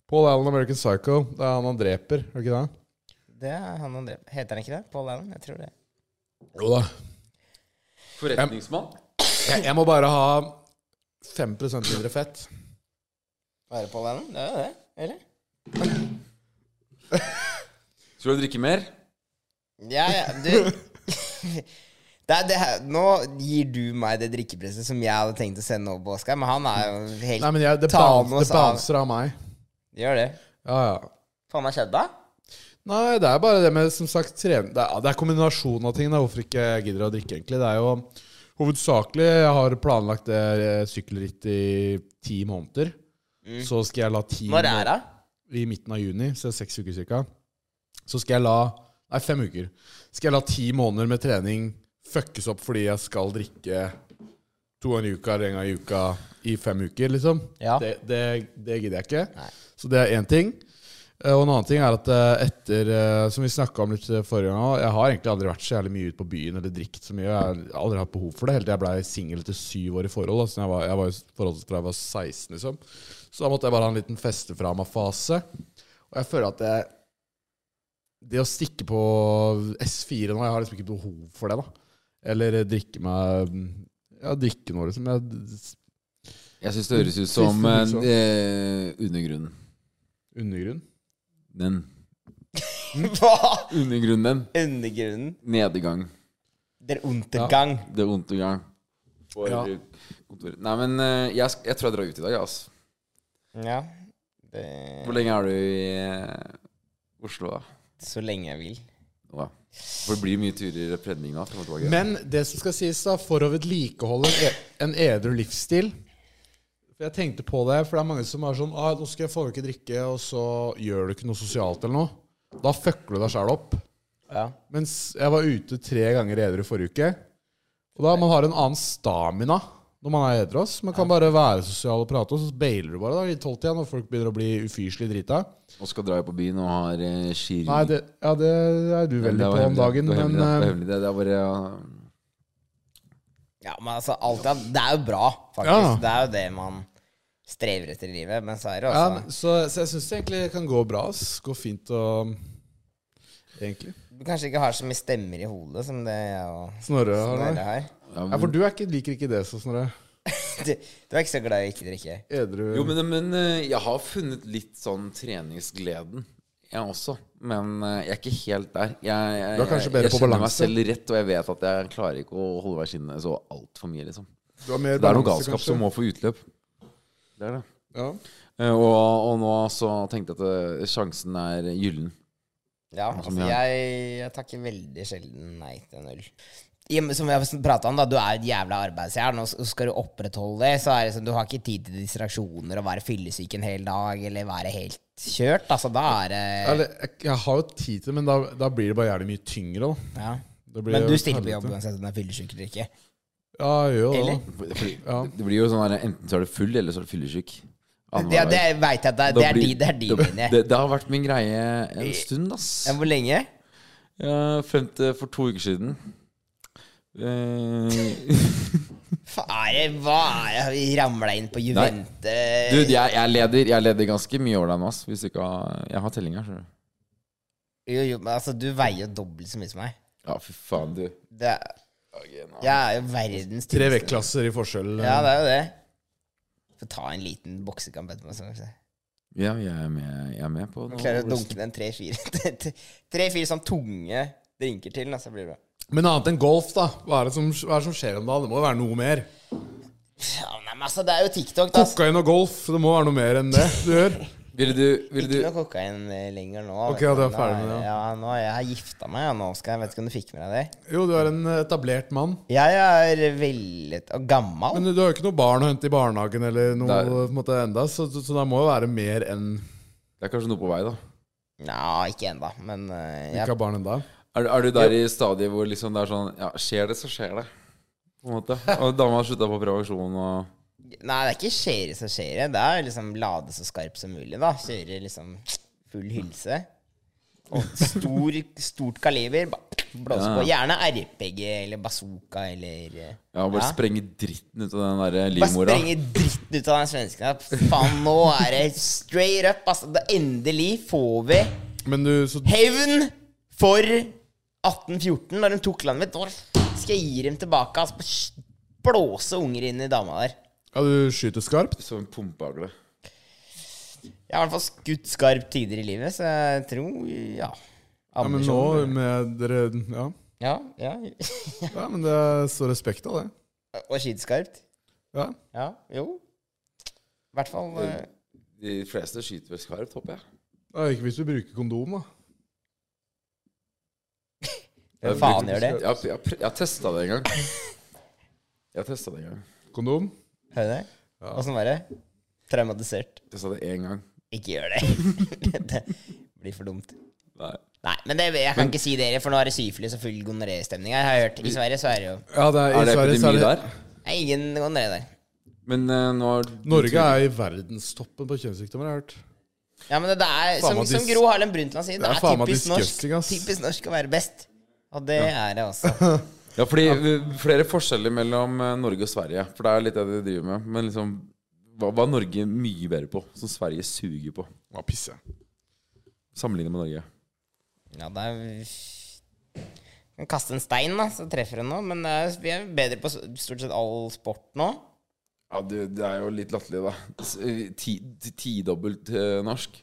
Speaker 5: Paul Allen, American Psycho. Det er han han dreper, er det ikke det?
Speaker 4: Det er han han dreper. Heter han ikke det? Paul Allen? Jeg tror det.
Speaker 5: Jo da.
Speaker 3: Forretningsmann.
Speaker 5: Jeg, jeg må bare ha 5 mindre fett.
Speaker 4: Er det Paul Allen? Det er jo det. Eller?
Speaker 3: Tror du jeg drikker mer?
Speaker 4: Ja, ja, du det er det her. Nå gir du meg det drikkepresset som jeg hadde tenkt å sende over på Oskar, men han er jo helt
Speaker 5: Nei, men jeg, det,
Speaker 4: Ta
Speaker 5: bounce,
Speaker 4: med oss
Speaker 5: det bouncer av meg.
Speaker 4: Gjør det.
Speaker 5: Ja, ja.
Speaker 4: Faen meg skjedde, da?
Speaker 5: Nei, det er bare det med som sagt trening Det er, det er kombinasjonen av ting. Da, hvorfor ikke jeg gidder å drikke, egentlig. Det er jo hovedsakelig Jeg har planlagt det eh, sykkelrittet i ti måneder. Så skal jeg la ti
Speaker 4: Mm. Når er det?
Speaker 5: i midten av juni, så det er seks uker cirka, så skal jeg la Nei, fem uker. Skal jeg la ti måneder med trening fuckes opp fordi jeg skal drikke to ganger i uka eller en gang i uka i fem uker, liksom?
Speaker 4: Ja.
Speaker 5: Det, det, det gidder jeg ikke. Så det er én ting. Eh, Og en annen ting er at eh, etter eh, Som vi snakka om litt eh, forrige gang også, Jeg har egentlig aldri vært så jævlig mye ute på byen eller drikt så mye. Jeg har aldri hatt behov for det. Helt til jeg blei singel etter syv år i forhold. Altså, jeg var, jeg var i forhold til da jeg var 16, liksom. Så da måtte jeg bare ha en liten feste fra meg-fase. Og jeg føler at jeg Det å stikke på S4 nå Jeg har liksom ikke behov for det, da. Eller drikke meg Ja, drikke noe, liksom. Jeg,
Speaker 3: Jeg syns det høres ut
Speaker 5: Siste
Speaker 3: som eh,
Speaker 5: liksom.
Speaker 3: eh, undergrunnen.
Speaker 5: undergrunn.
Speaker 3: Den.
Speaker 4: Hva?
Speaker 3: Undergrunnen.
Speaker 4: Undergrunnen.
Speaker 3: Nedgang.
Speaker 4: Der Untergang.
Speaker 3: Det er Untergang. For
Speaker 5: Ja.
Speaker 3: kontoret. Nei, men eh, jeg, sk- jeg tror jeg drar ut i dag, altså.
Speaker 4: Ja. Det,
Speaker 3: Hvor lenge er du i eh, Oslo, da?
Speaker 4: så lenge jeg vil.
Speaker 3: Nå, da? For det blir mye turer i predning nå. frem og tilbake.
Speaker 5: Men det som skal sies, da, for å vedlikeholde en e- en edru livsstil For Jeg tenkte på det, for det er mange som er sånn ah, 'Nå skal jeg få ikke drikke', og så gjør du ikke noe sosialt eller noe. Da fucker du deg sjæl opp.
Speaker 4: Ja.
Speaker 5: Mens jeg var ute tre ganger edru forrige uke. Og da man har en annen stamina når man er edru. ass. Man kan bare være sosial og prate, og så bailer du bare da i tolvtida når folk begynner å bli ufyselig drita.
Speaker 3: Og skal dra på byen og har eh, skirunning.
Speaker 5: Nei, det, ja, det er du
Speaker 3: Det
Speaker 5: veldig
Speaker 3: var
Speaker 5: på om
Speaker 3: hemmelig,
Speaker 5: dagen,
Speaker 3: det var hemmelig,
Speaker 5: men
Speaker 3: det var
Speaker 5: eh,
Speaker 3: hemmelig, det. Det er bare ja.
Speaker 4: ja, men altså, alt er, det er jo bra, faktisk.
Speaker 5: Ja.
Speaker 4: Det er jo det man strever etter i livet. Men så er det
Speaker 5: ja,
Speaker 4: også
Speaker 3: altså.
Speaker 5: men- så, så jeg syns det egentlig kan gå bra. Ass. Gå fint og Egentlig.
Speaker 4: Du kanskje ikke har så mye stemmer i hodet som det jeg og
Speaker 5: Snorre har
Speaker 4: Snorre
Speaker 5: det.
Speaker 4: har.
Speaker 5: Ja, for du er ikke, liker ikke det, så Snorre.
Speaker 4: Du, du er ikke så glad i å ikke drikke.
Speaker 5: Edru
Speaker 3: Jo, men, men eh, jeg har funnet litt sånn treningsgleden, jeg også. Men eh, jeg er ikke helt der. Jeg, jeg,
Speaker 5: Du er kanskje
Speaker 3: jeg-
Speaker 5: bedre
Speaker 3: jeg
Speaker 5: på
Speaker 3: kjenner meg
Speaker 5: balanse.
Speaker 3: selv rett, og jeg vet at jeg klarer ikke å holde meg skinnet så altfor mye, liksom.
Speaker 5: Du har mer
Speaker 3: Det er noe
Speaker 5: balanse,
Speaker 3: galskap
Speaker 5: kanskje?
Speaker 3: som må få utløp. Det er det.
Speaker 5: ja.
Speaker 3: Eh, Og, og nå så tenkte jeg at eh, sjansen er gyllen.
Speaker 4: Ja,
Speaker 3: som
Speaker 4: altså, jeg, jeg takker veldig sjelden nei til en øl. Ja, men Som vi har prata om, da, du er et jævla arbeidsjern, og s- og skal du opprettholde det, så er det sånn, du har ikke tid til distraksjoner og være fyllesyk en hel dag eller være helt kjørt. Altså, da er det
Speaker 5: Eller, jeg, jeg har jo tid til det, men da, da blir det bare jævlig mye tyngre. Da.
Speaker 4: ja.
Speaker 5: Det blir
Speaker 4: Men
Speaker 5: jo
Speaker 4: du stiller på
Speaker 5: helvete.
Speaker 4: jobb uansett om du er fyllesyk eller ikke.
Speaker 5: Ja, jeg gjør jo det.
Speaker 4: Eller?
Speaker 5: da.
Speaker 3: Det blir,
Speaker 5: Ja.
Speaker 3: det blir jo sånn her enten så er du full, eller så er du fyllesyk.
Speaker 4: Ja, det veit jeg at det er, eh. det
Speaker 3: Da
Speaker 4: er, de,
Speaker 3: blir-
Speaker 4: det er de
Speaker 3: da-
Speaker 4: mine.
Speaker 3: Det, det har vært min greie
Speaker 4: Eh,
Speaker 3: en stund, ass.
Speaker 4: Ja, Hvor lenge?
Speaker 3: Ja, frem til for to uker siden. Eh,
Speaker 4: Hva er det, hva er det? Har vi ramla inn på Juvente?
Speaker 3: du, jeg, jeg, leder, jeg leder ganske mye over deg nå, ass. Hvis du ikke har Jeg har telling her, skjønner du.
Speaker 4: Jo, jo, men altså, du veier jo dobbelt så mye som meg.
Speaker 3: Ja, fy faen, du.
Speaker 4: Det er, jeg er jo verdens
Speaker 5: Tre
Speaker 4: tynneste.
Speaker 5: vektklasser i forskjell.
Speaker 4: Ja, det er jo det. Få ta en liten boksekamp etterpå. så skal vi se.
Speaker 3: Ja, jeg er med, jeg er med på det.
Speaker 4: Klarer å dunke den tre-fire Tre-fire sånn tunge drinker til, da, så blir det bra.
Speaker 5: Men annet enn golf, da. Hva er det som, hva er det som skjer om dagen? Det må jo være noe mer.
Speaker 4: Ja, nei, men altså, det er jo TikTok, da. ass.
Speaker 5: Kokain og golf, det må være noe mer enn det du gjør.
Speaker 3: Ville du, ville
Speaker 4: Ikke noe
Speaker 3: du
Speaker 4: kokain eh, lenger nå.
Speaker 5: Ok,
Speaker 4: vet
Speaker 5: ja, du er
Speaker 4: Nå
Speaker 5: ferdig med det,
Speaker 4: Ja, nå er jeg gifta meg, ja, nå skal jeg vet ikke om du fikk med deg det.
Speaker 5: Jo, du er en etablert mann.
Speaker 4: Jeg er veldig og gammel.
Speaker 5: Men du har jo ikke noe barn å hente i barnehagen eller noe
Speaker 3: Det
Speaker 5: på en måte enda, så, så, så det må jo være mer enn
Speaker 3: Det er kanskje noe på vei, da.
Speaker 4: Nja, ikke ennå, men eh,
Speaker 5: ikke
Speaker 4: jeg,
Speaker 5: har barn enda.
Speaker 3: Er, du- er du der i stadiet hvor liksom det er sånn Ja, skjer det, så skjer det. På en måte. Og dama har slutta på prevensjon og
Speaker 4: Nei, det er ikke skjere som skjere. Det er liksom lade så skarp som mulig, da. Kjøre liksom full hylse. Og stor, stort kaliber. Bare blåse på. Gjerne RPG eller bazooka eller eh,
Speaker 3: Ja, bare
Speaker 4: ja.
Speaker 3: sprenge dritten ut av den der
Speaker 4: Bare
Speaker 3: livmora.
Speaker 4: sprenge dritten ut av den svensken. her. Faen, nå er det straight up. Altså, Da endelig får vi
Speaker 5: Men du, så
Speaker 4: hevn for 1814, når de tok landet mitt. Nå skal jeg gi dem tilbake. Altså, bare blåse unger inn i dama der.
Speaker 5: ja, du skyter skarpt?
Speaker 3: Som en pumpeagle.
Speaker 4: Jeg har i hvert fall skutt skarpt tidligere i livet, så jeg tror ja.
Speaker 5: Ja, men nå med dere Ja,
Speaker 4: Ja, ja.
Speaker 5: ja men det er så respekt av det.
Speaker 4: Og skyte skarpt.
Speaker 5: Ja.
Speaker 4: Ja, jo. I hvert fall eh,
Speaker 3: De fleste skyter vel skarpt, håper jeg.
Speaker 5: Ja, ikke hvis du bruker kondom, da.
Speaker 4: Hvem faen gjør det?
Speaker 3: Jeg, har- jeg, har pr- jeg har testa det en gang. Jeg har testa det en gang.
Speaker 5: Kondom?
Speaker 4: Hører du det? Åssen var det? Traumatisert.
Speaker 3: Testa det én gang.
Speaker 4: Ikke gjør det. det blir for dumt.
Speaker 3: Nei.
Speaker 4: Nei, men det, jeg kan ikke si dere, for nå er det syfilis og full gonoré-stemning her. Har jeg hørt. I Sverige så er det jo
Speaker 5: Ja, det er,
Speaker 3: Er det
Speaker 5: i Sverige så
Speaker 3: epidemi
Speaker 5: er det,
Speaker 3: der?
Speaker 4: Nei, ingen gonoré der.
Speaker 3: Men eh, nå har
Speaker 5: Norge er i verdenstoppen på kjønnssykdommer, har jeg hørt.
Speaker 4: Ja, men det, det er,
Speaker 5: Faen
Speaker 4: som,
Speaker 5: meg
Speaker 4: som
Speaker 5: dis-
Speaker 4: Gro Harlem Brundtland sier, det
Speaker 5: Det er
Speaker 4: er
Speaker 5: faen meg
Speaker 4: typisk norsk,
Speaker 5: disgusting, ass.
Speaker 4: typisk norsk å være best. Og det er det også.
Speaker 3: Ja, fordi eh, flere forskjeller mellom eh, Norge og Sverige. For det er litt det de driver med. Men liksom hva, hva er Norge mye bedre på? Som Sverige suger på.
Speaker 5: Ja, pisse.
Speaker 3: Sammenlignet med Norge.
Speaker 4: Ja, det er kan kaste en stein, da, så treffer hun nå. Men det er, vi er bedre på s- stort sett all sport nå.
Speaker 3: Ja, det, det er jo litt latterlig, da. S- eh, Ti, ti- tidobbelt eh, norsk.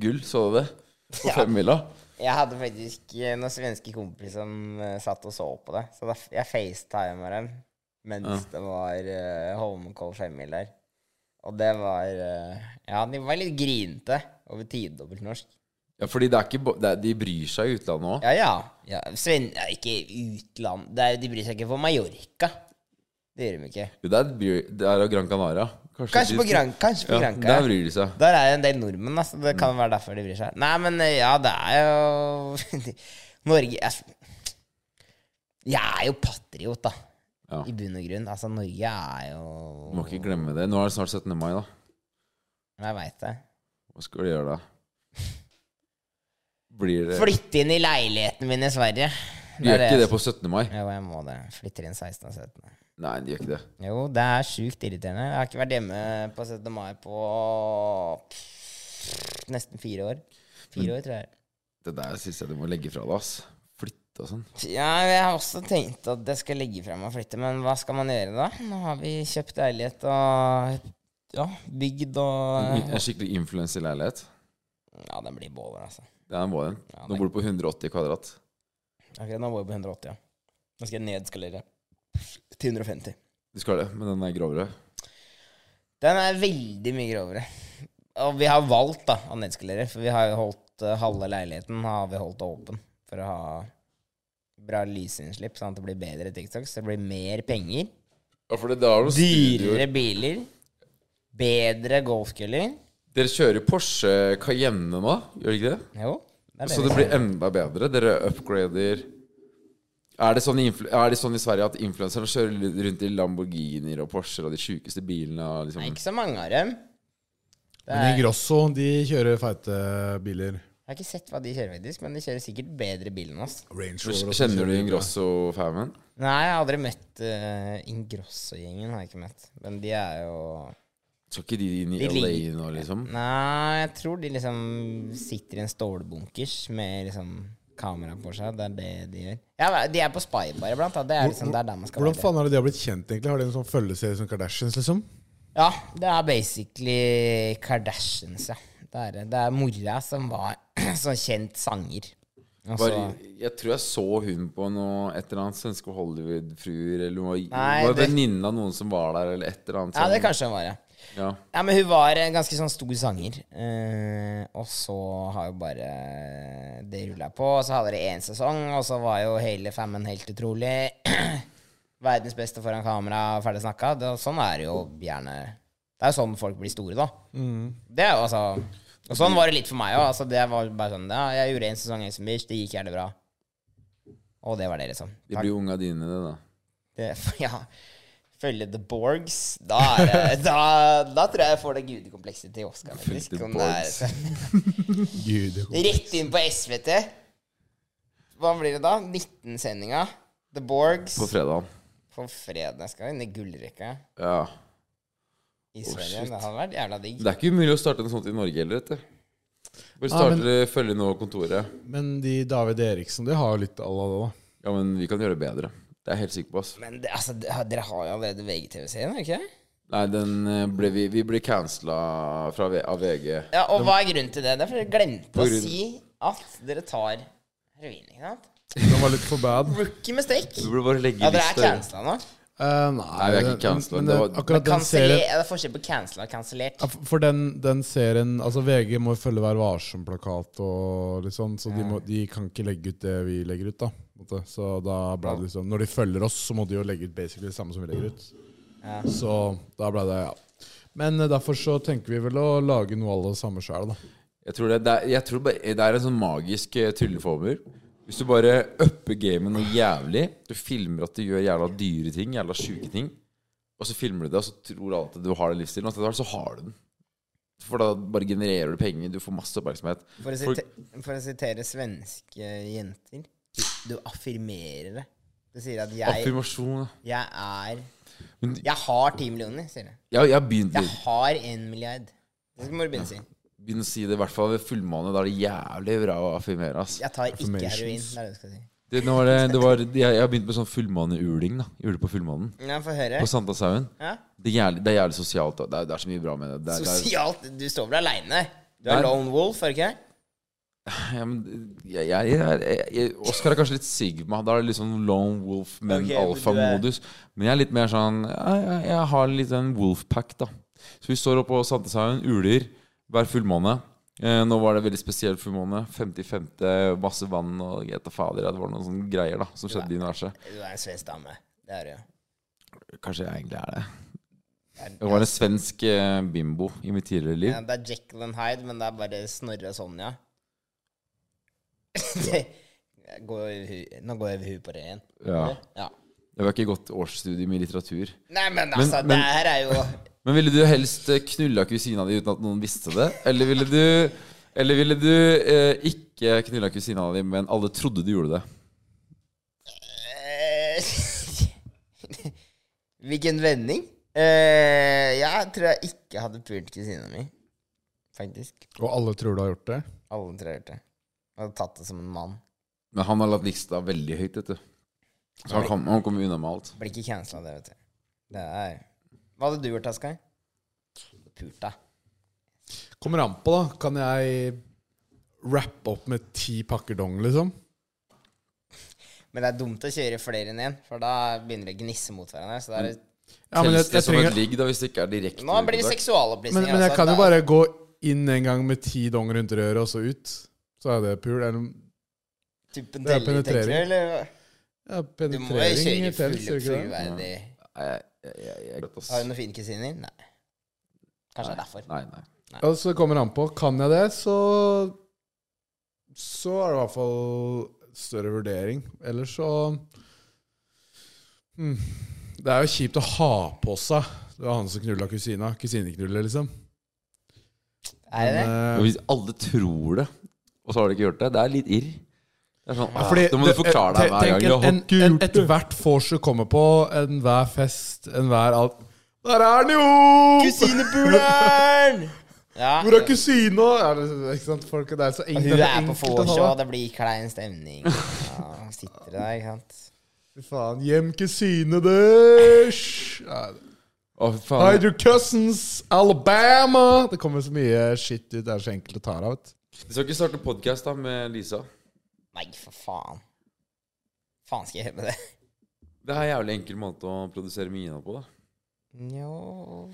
Speaker 3: Gull, så du det? På
Speaker 4: Ja.
Speaker 3: femmila.
Speaker 4: Jeg hadde faktisk eh, noen svenske kompiser som eh, satt og så på det. Så da, f- jeg facetimer dem mens det var uh, Holmenkoll femmil der. Og det var eh, Ja, de var litt grinete over tidobbelt norsk.
Speaker 3: Ja, fordi det er ikke ba- det er, De bryr seg i utlandet òg.
Speaker 4: Ja, ja. ja Sven, ja ikke utland det er, De bryr seg ikke på Mallorca. Det gjør de ikke.
Speaker 3: Det er, bryr- det er Gran Canaria. Kanskje,
Speaker 4: Kanskje på, Gran, kanskje på
Speaker 3: ja,
Speaker 4: Granca.
Speaker 3: Der bryr de seg.
Speaker 4: Der er det en del nordmenn, altså. Det kan være derfor de bryr seg. Nei, men eh, ja, det er jo Norge altså, Jeg er jo patriot, da.
Speaker 3: Ja.
Speaker 4: I bunn og grunn. Altså, Norge er jo
Speaker 3: Du må ikke glemme det. Nå er det snart 17. mai, da.
Speaker 4: Jeg veit det.
Speaker 3: Hva skal du gjøre da? Blir det
Speaker 4: Flytte inn i leiligheten min i Sverige.
Speaker 3: Du gjør ikke det
Speaker 4: jeg-
Speaker 3: på 17. mai?
Speaker 4: Jo, jeg må det. Flytter inn 16. og 17.
Speaker 3: Nei, de gjør ikke det.
Speaker 4: Jo, det er sjukt irriterende. Jeg har ikke vært hjemme på 17. mai på pff, nesten fire år. Fire år, tror jeg.
Speaker 3: Det der syns jeg du må legge fra deg, ass. Flytte og sånn.
Speaker 4: Ja, jeg har også tenkt at jeg skal legge frem og flytte, men hva skal man gjøre da? Nå har vi kjøpt leilighet og ja, bygd og
Speaker 3: En skikkelig influenserleilighet.
Speaker 4: Ja, den blir båler, altså.
Speaker 3: Det er en vår en.
Speaker 4: Ja,
Speaker 3: Nå
Speaker 4: det-
Speaker 3: bor du på 180 kvadrat.
Speaker 4: Ok, nå var vi på 180, ja. Nå skal jeg nedskalere til 150.
Speaker 3: Du skal det, men den er grovere.
Speaker 4: Den er veldig mye grovere. Og vi har valgt da, å nedskalere, for vi har jo holdt eh, halve leiligheten har vi holdt åpen for å ha bra lysinnslipp, sånn at det blir bedre TikTok, så det blir mer penger.
Speaker 3: Ja, for det, det er noen
Speaker 4: Dyrere
Speaker 3: studioer.
Speaker 4: biler. Bedre golfkøller.
Speaker 3: Dere kjører Porsche Cayenne nå, gjør dere ikke det?
Speaker 4: Jo. Det er
Speaker 3: Så det blir enda bedre. Dere upgrader Er det sånn i, influ- er det sånn i Sverige at influenserne kjører litt rundt i Lamborghinier og Porscher og de sjukeste bilene? og Liksom.
Speaker 4: Nei, ikke så mange av dem. Det
Speaker 5: Men
Speaker 4: er,
Speaker 5: Ingrosso, de kjører feite biler.
Speaker 4: jeg har ikke sett hva de kjører, faktisk, men de kjører sikkert bedre bil enn oss.
Speaker 3: Kjenner
Speaker 5: Range og
Speaker 3: du
Speaker 5: sånn kjører
Speaker 3: Kjenner du
Speaker 5: de.
Speaker 3: Ingrosso-famen?
Speaker 4: Nei, jeg har aldri møtt eh, Ingrosso-gjengen, har jeg ikke møtt. Men de er jo
Speaker 3: Skal ikke de inn i
Speaker 4: De
Speaker 3: LA
Speaker 4: ligger-
Speaker 3: nå, liksom?
Speaker 4: Nei, jeg tror de liksom sitter i en stålbunkers med liksom kamera på seg. Det er det de gjør. Ja, de er på Spy bare iblant. da. Det er liksom det er der man skal
Speaker 5: Hvordan
Speaker 4: være.
Speaker 5: faen er det de har blitt kjent, egentlig? Har de en sånn følgeserie som Kardashians, liksom?
Speaker 4: Ja, det er basically Kardashians, ja. Det er, det. det er mora som var så kjent sanger. Altså- Og
Speaker 3: Var,
Speaker 4: så-
Speaker 3: jeg tror jeg så hun på noe Et eller annet svenske Hollywood-fruer Eller hun var,
Speaker 4: Nei,
Speaker 3: var
Speaker 4: det-
Speaker 3: venninne av noen som var der, eller et eller annet.
Speaker 4: ja, det
Speaker 3: sånn.
Speaker 4: kanskje hun var, ja.
Speaker 3: ja.
Speaker 4: Ja, men hun var en ganske sånn stor sanger. Eh, og så har jo bare det rulla på. Og så hadde det én sesong, og så var jo hele femmen helt utrolig. Verdens beste foran kamera, ferdig snakka. Det- Sånn er det jo gjerne Det er jo sånn folk blir store, da. Det er jo altså Og sånn var det litt for meg òg. Altså, det var bare sånn Ja, jeg gjorde én sesong i Exxon Beach, det gikk jævlig bra. Og det var det, liksom.
Speaker 3: De blir jo unga dine, det, da.
Speaker 4: Det, ja. følge The Borgs, da, er, det- da, da tror jeg jeg får det gudekomplekset til Oscar. faktisk,
Speaker 3: The
Speaker 4: om det er-
Speaker 5: Gud, jeg-
Speaker 4: Rett inn på SVT. Hva blir det da? 19-sendinga. The Borgs.
Speaker 3: på fredag.
Speaker 4: På fredag skal vi inn i gullrekka
Speaker 3: Ja.
Speaker 4: i Sverige.
Speaker 3: shit.
Speaker 4: det hadde vært jævla digg.
Speaker 3: Det er ikke umulig å starte en sånn i Norge heller, vet du. Bare
Speaker 5: Nei,
Speaker 3: starte
Speaker 5: men-
Speaker 3: følge nå kontoret.
Speaker 5: Men de David Eriksen, de har jo litt à la det, da.
Speaker 3: Ja, men vi kan gjøre det bedre. Det er jeg helt sikker på. ass.
Speaker 4: Men det, altså, det- dere har jo allerede VGTV-serien, har dere ikke det?
Speaker 3: Nei, den eh, ble vi, vi ble cancela fra V- av VG.
Speaker 4: Ja, og hva er grunnen til det? Det er fordi dere glemte
Speaker 3: På
Speaker 4: å
Speaker 3: grunn-
Speaker 4: si at dere tar heroin, ikke sant?
Speaker 5: Den var litt for bad.
Speaker 4: Rookie mistake.
Speaker 3: Du burde bare legge
Speaker 4: Ja, dere er
Speaker 3: lista-
Speaker 4: cancela nå.
Speaker 5: Eh, nei,
Speaker 3: vi er ikke
Speaker 5: den-
Speaker 3: cancela.
Speaker 5: Men,
Speaker 3: Det
Speaker 5: den-
Speaker 3: var-
Speaker 5: akkurat den
Speaker 4: Kanselle,
Speaker 5: serien
Speaker 4: ja, det er forskjell på cancela og kansellert.
Speaker 5: ja, for- For den, den serien Altså, VG må jo følge Vær varsom-plakat og litt sånn, så de, må, de kan ikke legge ut det vi legger ut, da. på en måte. Så da ble det liksom Når de følger oss, så må de jo legge ut basically det samme som vi legger ut. Så da ble det Ja. Men eh, derfor så tenker vi vel å lage noe av det samme sjæl, da.
Speaker 3: Jeg tror, det, det, er, jeg tror bare, det er en sånn magisk eh, trylleformel. Hvis du bare upper gamet noe jævlig, du filmer at du gjør jævla dyre ting, jævla sjuke ting, og så filmer du det, og så tror alle at du har den livsstilen, og etter hvert så har du den. For da bare genererer du penger, du får masse oppmerksomhet.
Speaker 4: For å,
Speaker 3: Folk-
Speaker 4: site, for å sitere svenske jenter Du affirmerer det. Du sier at jeg,
Speaker 3: Affirmasjon. da.
Speaker 4: jeg er
Speaker 3: Men-
Speaker 4: Jeg har ti millioner, sier du.
Speaker 3: Jeg, jeg har begynt,
Speaker 4: Jeg har én milliard. Det skal Morbin si.
Speaker 3: begynt å si det, i hvert fall ved fullmåne. Da er det jævlig bra å affirmere, ass.
Speaker 4: Jeg tar ikke
Speaker 5: Affirmations.
Speaker 4: heroin. Det er det du skal si.
Speaker 3: Det, nå var det, det var, jeg, jeg har begynt med sånn fullmåneuling, da. Gjorde det på fullmånen.
Speaker 4: Ja, Få høre.
Speaker 3: På Sankthanshaugen.
Speaker 4: Ja.
Speaker 3: Det, er jævlig- det er jævlig sosialt. da. Det er, det er så mye bra med det. det, er, det er,
Speaker 4: Sosialt Du står vel aleine? Du er
Speaker 3: Nei.
Speaker 4: lone wolf, er du ikke?
Speaker 3: Ja, men jeg, jeg, jeg, jeg, jeg Oscar er kanskje litt Sigma. Da er det litt sånn lone wolf, men
Speaker 4: Ok, men
Speaker 3: alfa-modus. Men jeg er litt mer sånn Jeg, jeg, jeg har litt den wolf-pack, da. Så vi står oppe på Sandteshaugen, uler hver fullmåne. Eh, nå var det veldig spesiell fullmåne. 55. masse vann og jeg vet da fader. ja, Det var noen sånne greier da som skjedde i universet.
Speaker 4: Du er en svensk dame. Det er du, ja.
Speaker 3: Kanskje jeg egentlig er det.
Speaker 4: Det er-
Speaker 3: Jeg var en svensk eh, bimbo i mitt tidligere liv.
Speaker 4: Ja, det er Jekyll and Hyde, men det er bare Snorre og Sonja. det, jeg går over hu- nå går jeg over huet på det igjen.
Speaker 3: Ja.
Speaker 4: Ja.
Speaker 3: Det var ikke godt årsstudium i litteratur.
Speaker 4: Nei, men altså,
Speaker 3: men-
Speaker 4: det her er jo
Speaker 3: Men ville du helst eh, knulla kusina di uten at noen visste det? Eller ville du, eller ville du eh, ikke knulla kusina di, men alle trodde du gjorde det?
Speaker 4: Eh, Hvilken vending? Eh, jeg tror jeg ikke hadde pult kusina mi, faktisk.
Speaker 5: Og alle tror du har gjort det.
Speaker 4: Alle tror jeg har gjort det. Jeg hadde tatt det som en mann.
Speaker 3: Men han har latt lista veldig høyt, vet du. Så han, kom, han kommer unna med alt.
Speaker 4: Blir ikke cancela, det, vet du. Det er Hva hadde du gjort, Asgeir? Pult deg.
Speaker 5: Kommer an på, da. Kan jeg rappe opp med ti pakker dong, liksom?
Speaker 4: Men det er dumt å kjøre flere enn én, for da begynner det å gnisse mot hverandre. Så det er,
Speaker 5: Ja, men jeg,
Speaker 3: Helst det
Speaker 5: jeg
Speaker 3: som et
Speaker 5: trenger
Speaker 3: ligg, da, hvis det ikke er direkte
Speaker 4: nå blir det
Speaker 3: utenfor.
Speaker 5: men,
Speaker 4: seksualopplysninger.
Speaker 5: men jeg
Speaker 4: altså.
Speaker 5: kan jo
Speaker 4: Det er-
Speaker 5: bare gå inn en gang med ti dong rundt røret, og så ut. Så er det pul. Eller
Speaker 4: typ en
Speaker 5: det er
Speaker 4: telling, tenker du,
Speaker 5: penetrering.
Speaker 4: eller?
Speaker 5: ja,
Speaker 4: Du må jo
Speaker 5: penetrering
Speaker 4: kjøre
Speaker 5: i telt,
Speaker 4: full
Speaker 5: ser du ikke det?
Speaker 4: fullverdig.
Speaker 3: Nei, jeg, jeg, jeg, jeg,
Speaker 4: Har du noen fine kusiner? Nei. Kanskje det er derfor.
Speaker 3: Nei, nei.
Speaker 5: Ja, så det kommer an på. Kan jeg det, så Så er det i hvert fall større vurdering. Ellers så hmm. Det er jo kjipt å ha på seg. Det var han som knulla kusina. Kusineknuller, liksom. Eh,
Speaker 4: Er det det?
Speaker 3: Og hvis alle tror det, og så har de ikke gjort det, det er litt irr. Det er sånn, ah,
Speaker 5: Fordi
Speaker 3: da må du
Speaker 5: det-
Speaker 3: forklare
Speaker 5: te-
Speaker 3: deg hver
Speaker 5: tenk
Speaker 3: gang. Jeg har
Speaker 5: en-
Speaker 3: ikke
Speaker 5: en-
Speaker 3: gjort det.
Speaker 5: Ethvert vors du kommer på, enhver fest, enhver alt Der er den jo!
Speaker 4: Kusinepuleren! Ja.
Speaker 5: eh, Hvor er kusina? Er det, ikke sant? Folk, det er så enkelt,
Speaker 4: Hun
Speaker 5: det
Speaker 4: er på
Speaker 5: enkelt å
Speaker 4: vors,
Speaker 5: ha
Speaker 4: og
Speaker 5: det.
Speaker 4: det blir klein stemning. Ja, hun sitter der, ikke sant.
Speaker 5: Fy Faen, hjem kusine deres! Ja,
Speaker 3: Å,
Speaker 5: Hi,
Speaker 3: faen.
Speaker 5: your cousins, Alabama! Det kommer så mye shit ut. Det er så enkelt å ta det av. vet du.
Speaker 3: Du skal ikke starte podkast med Lisa?
Speaker 4: Nei, for faen. Faen skal jeg gjøre med det?
Speaker 3: Det er en jævlig enkel måte å produsere mine på, da.
Speaker 4: Jo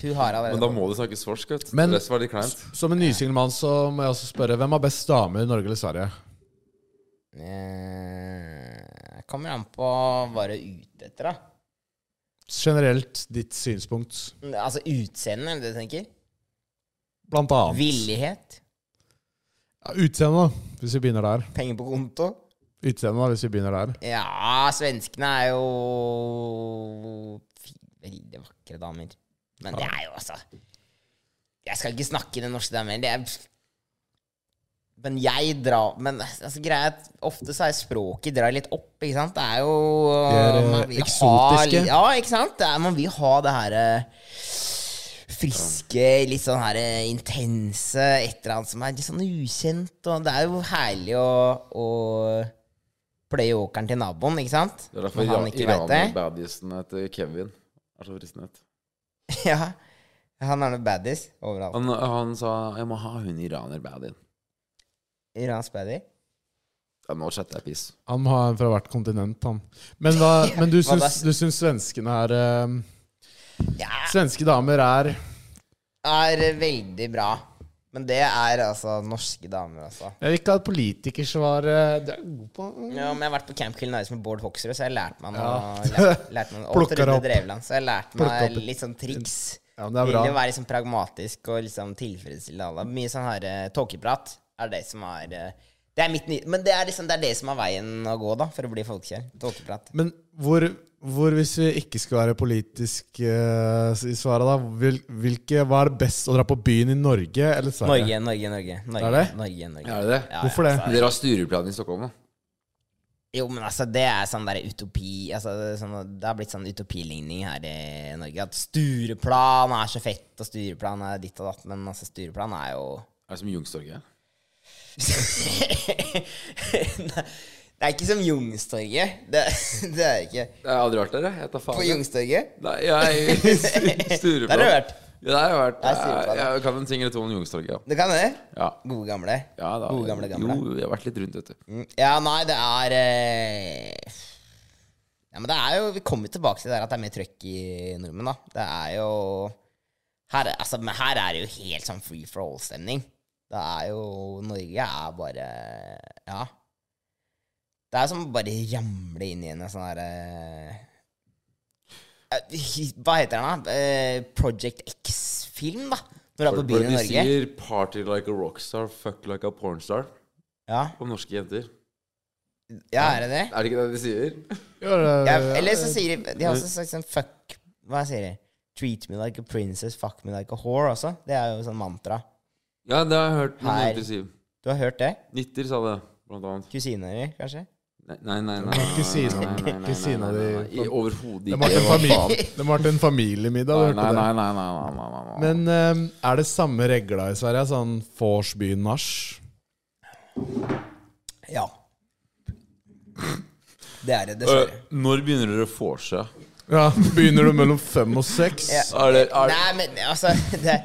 Speaker 4: Hun har allerede
Speaker 3: Men da må det snakkes svorsk, vet du.
Speaker 5: Men-
Speaker 3: Resten var litt kleint.
Speaker 5: Som en nysingel mann så må jeg også spørre hvem har best dame i Norge eller Sverige?
Speaker 4: Eh, Kommer an på hva du er ute etter, da.
Speaker 5: Generelt ditt synspunkt.
Speaker 4: Altså utseende, er det det du tenker?
Speaker 5: Blant annet.
Speaker 4: Villighet.
Speaker 5: Ja, Utseende, da, hvis vi begynner der.
Speaker 4: Penger på konto.
Speaker 5: Utseende, da, hvis vi begynner der.
Speaker 4: Ja, svenskene er jo fi- veldig vakre damer. Men det er jo altså Jeg skal ikke snakke den norske damer. Det er, men jeg drar Men altså, greia er at ofte så er språket drar litt opp, ikke sant? Det er jo
Speaker 5: er, eh,
Speaker 4: man vil ha
Speaker 5: eksotiske.
Speaker 4: litt- ja, ikke sant? Det er, man vil ha det her eh, friske, litt sånn her eh, intense, et eller annet som er litt sånn ukjent. Og det er jo herlig å, å pløye åkeren til naboen, ikke sant?
Speaker 3: Det er derfor
Speaker 4: Når han ikke vet det.
Speaker 3: iraner-badisen heter Kevin. Er så fristende.
Speaker 4: Ja. Han er noe baddies overalt.
Speaker 3: Han, han sa 'jeg må ha hun iraner-badien'.
Speaker 4: Iransk baddie.
Speaker 3: Ja, nå chatter jeg piss.
Speaker 5: Han må ha en fra hvert kontinent, han. Men, hva, men du,
Speaker 4: Hva da?
Speaker 5: syns, du syns svenskene er eh,
Speaker 4: Ja,
Speaker 5: Svenske damer er
Speaker 4: er veldig bra. Men det er altså norske damer, altså.
Speaker 5: Jeg vil ikke ha et politikersvar eh, Det er god på
Speaker 4: Ja, men jeg har vært på Camp Kill Nice med Bård Hoksrud, så jeg lærte meg noe.
Speaker 5: Ja.
Speaker 4: Lært, lærte meg, og
Speaker 5: Plukker
Speaker 4: Trude
Speaker 5: opp.
Speaker 4: Drevland, så jeg lærte
Speaker 5: Plukker
Speaker 4: meg
Speaker 5: opp.
Speaker 4: litt sånn triks.
Speaker 5: Ja, men det er
Speaker 4: Til å
Speaker 5: bra.
Speaker 4: være liksom pragmatisk og liksom tilfredsstille alle. Mye sånn her eh, tåkeprat er det som er eh, Det er mitt nye Men det er liksom det, er det som er veien å gå, da, for å bli folkekjær. Tåkeprat.
Speaker 5: Men hvor, hvor hvis vi ikke skal være politisk eh, i svaret, da hvil, hvilke, Hva er det best å dra på byen i Norge eller Sverige?
Speaker 4: Norge, Norge, Norge. Norge,
Speaker 5: Er det?
Speaker 4: Norge, Norge.
Speaker 3: Er det det?
Speaker 4: Ja,
Speaker 5: Hvorfor det?
Speaker 4: altså,
Speaker 3: Dere har Stureplan i Stockholm, da?
Speaker 4: Jo, men altså, det er sånn der utopi altså, det, er sånn, det har blitt sånn utopiligning her i Norge. At Stureplan er så fett, og Stureplan er ditt og datt, men altså, Stureplan er jo
Speaker 3: Er det som Youngstorget?
Speaker 4: Nei, Det er ikke som Youngstorget. Det, det er det ikke.
Speaker 3: Jeg har aldri vært der, jeg. Jeg tar faen.
Speaker 4: På
Speaker 3: jeg.
Speaker 4: Youngstorget?
Speaker 3: Nei, jeg Stureplan.
Speaker 4: Der har du vært.
Speaker 3: Ja, der har jeg vært.
Speaker 4: Der er Stureplan,
Speaker 3: Jeg, jeg kan en ting eller to om Youngstorget, ja.
Speaker 4: Det kan det.
Speaker 3: ja.
Speaker 4: Gode gamle.
Speaker 3: Ja da.
Speaker 4: Gode gamle gamle.
Speaker 3: Jo, jeg har vært litt rundt, vet du.
Speaker 4: Mm, Ja, nei, det er eh, Ja, men det er jo Vi kommer tilbake til det der at det er mer trøkk i nordmenn, da. Det er jo her, er- altså, Men her er det jo helt sånn free for all-stemning. Det er jo Norge er bare Ja. Det er som å bare ramle inn i en sånn herre Hva heter den, da? Eh, Project X-film, da. Når du er på
Speaker 3: Hvor
Speaker 4: byen i
Speaker 3: de
Speaker 4: Norge.
Speaker 3: sier 'party like a rockstar, fuck like a pornstar'
Speaker 4: Ja.
Speaker 3: om norske jenter.
Speaker 4: ja, er det det?
Speaker 3: Er det ikke det de sier?
Speaker 5: Ja, det-
Speaker 4: Ja, eller så sier de De har også sagt sånn fuck Hva sier de? Treat me like a princess, fuck me like a whore også. Det er jo sånn mantra.
Speaker 3: Ja, det har jeg hørt noen
Speaker 4: Her.
Speaker 3: jenter si.
Speaker 4: Du har hørt det?
Speaker 3: Nitter sa det, blant annet.
Speaker 4: Kusina di, kanskje?
Speaker 3: Nei, nei, nei. nei,
Speaker 5: Ikke si det.
Speaker 3: nei, nei, nei, nei,
Speaker 5: Ikke si det,
Speaker 3: nei, nei,
Speaker 5: de-
Speaker 3: nei. I- Overhodet
Speaker 5: Det
Speaker 3: ikke.
Speaker 5: må ha vært en
Speaker 3: Hva
Speaker 5: familie-
Speaker 3: faen?
Speaker 5: det må ha vært en familiemiddag.
Speaker 3: Nei,
Speaker 5: Du hørte
Speaker 3: nei,
Speaker 5: det.
Speaker 3: nei, nei, nei, nei, nei, nei.
Speaker 5: Men eh, er det samme regla i Sverige? Sånn vorsby-nach?
Speaker 4: Ja. Det er det,
Speaker 3: Øh,
Speaker 4: dessverre.
Speaker 3: Når begynner dere å vorse?
Speaker 5: Ja, begynner du mellom fem og seks?
Speaker 4: Ja.
Speaker 3: Er det, er det
Speaker 4: Nei, men altså det,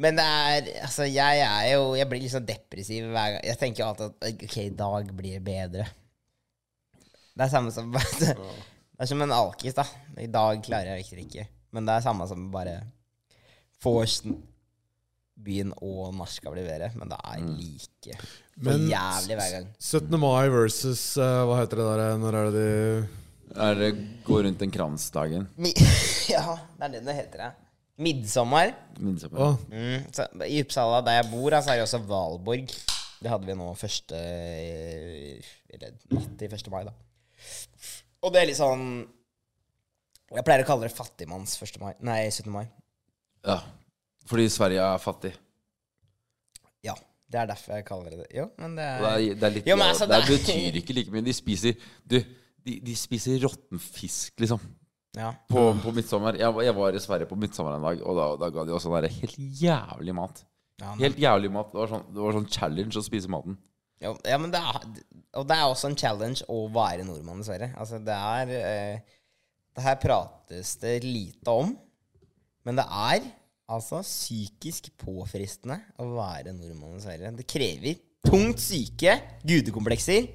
Speaker 4: Men det er Altså, jeg er jo Jeg blir litt sånn depressiv hver gang. Jeg tenker jo alltid at ok, i dag blir det bedre. Det er samme som Det er som en alkis, da. I dag klarer jeg ikke drikke. Men det er samme som bare Forsen, byen og nach skal bli bedre. Men det er like for
Speaker 5: Men-
Speaker 4: jævlig hver gang.
Speaker 5: 17. mai versus eh, Hva heter det der? Når er det de
Speaker 3: er det gå rundt en krans-dagen?
Speaker 4: Mi ja, det er det det heter, ja. Midtsommer.
Speaker 3: Minnsommer.
Speaker 5: Å,
Speaker 4: Mm, så I Uppsala, der jeg bor, da, så er det også Valborg. Det hadde vi nå første eh, Eller natt til 1. mai, da. Og det er litt sånn Jeg pleier å kalle det fattigmanns 1. mai. Nei, 17. mai.
Speaker 3: Ja. Fordi Sverige er fattig.
Speaker 4: Ja. Det er derfor jeg kaller det det. Jo, men det
Speaker 3: Og Det,
Speaker 4: er
Speaker 3: er, det, er litt,
Speaker 4: Jo, men altså,
Speaker 3: det,
Speaker 4: det er-
Speaker 3: betyr ikke like mye. De spiser Du, de, de spiser råtten fisk, liksom.
Speaker 4: Ja.
Speaker 3: På, på midtsommer. Jeg, var- jeg var i Sverige på midtsommer en dag, og da, da ga de oss sånn der helt jævlig mat.
Speaker 4: Ja, men-
Speaker 3: Helt jævlig mat. Det var sånn, det var sånn challenge å spise maten.
Speaker 4: Jo, ja, men det er, og det er også en challenge å være nordmann, dessverre. Altså, det er eh, Det her prates det lite om, men det er altså psykisk påfristende å være nordmann, dessverre. Det krever tungt syke, gudekomplekser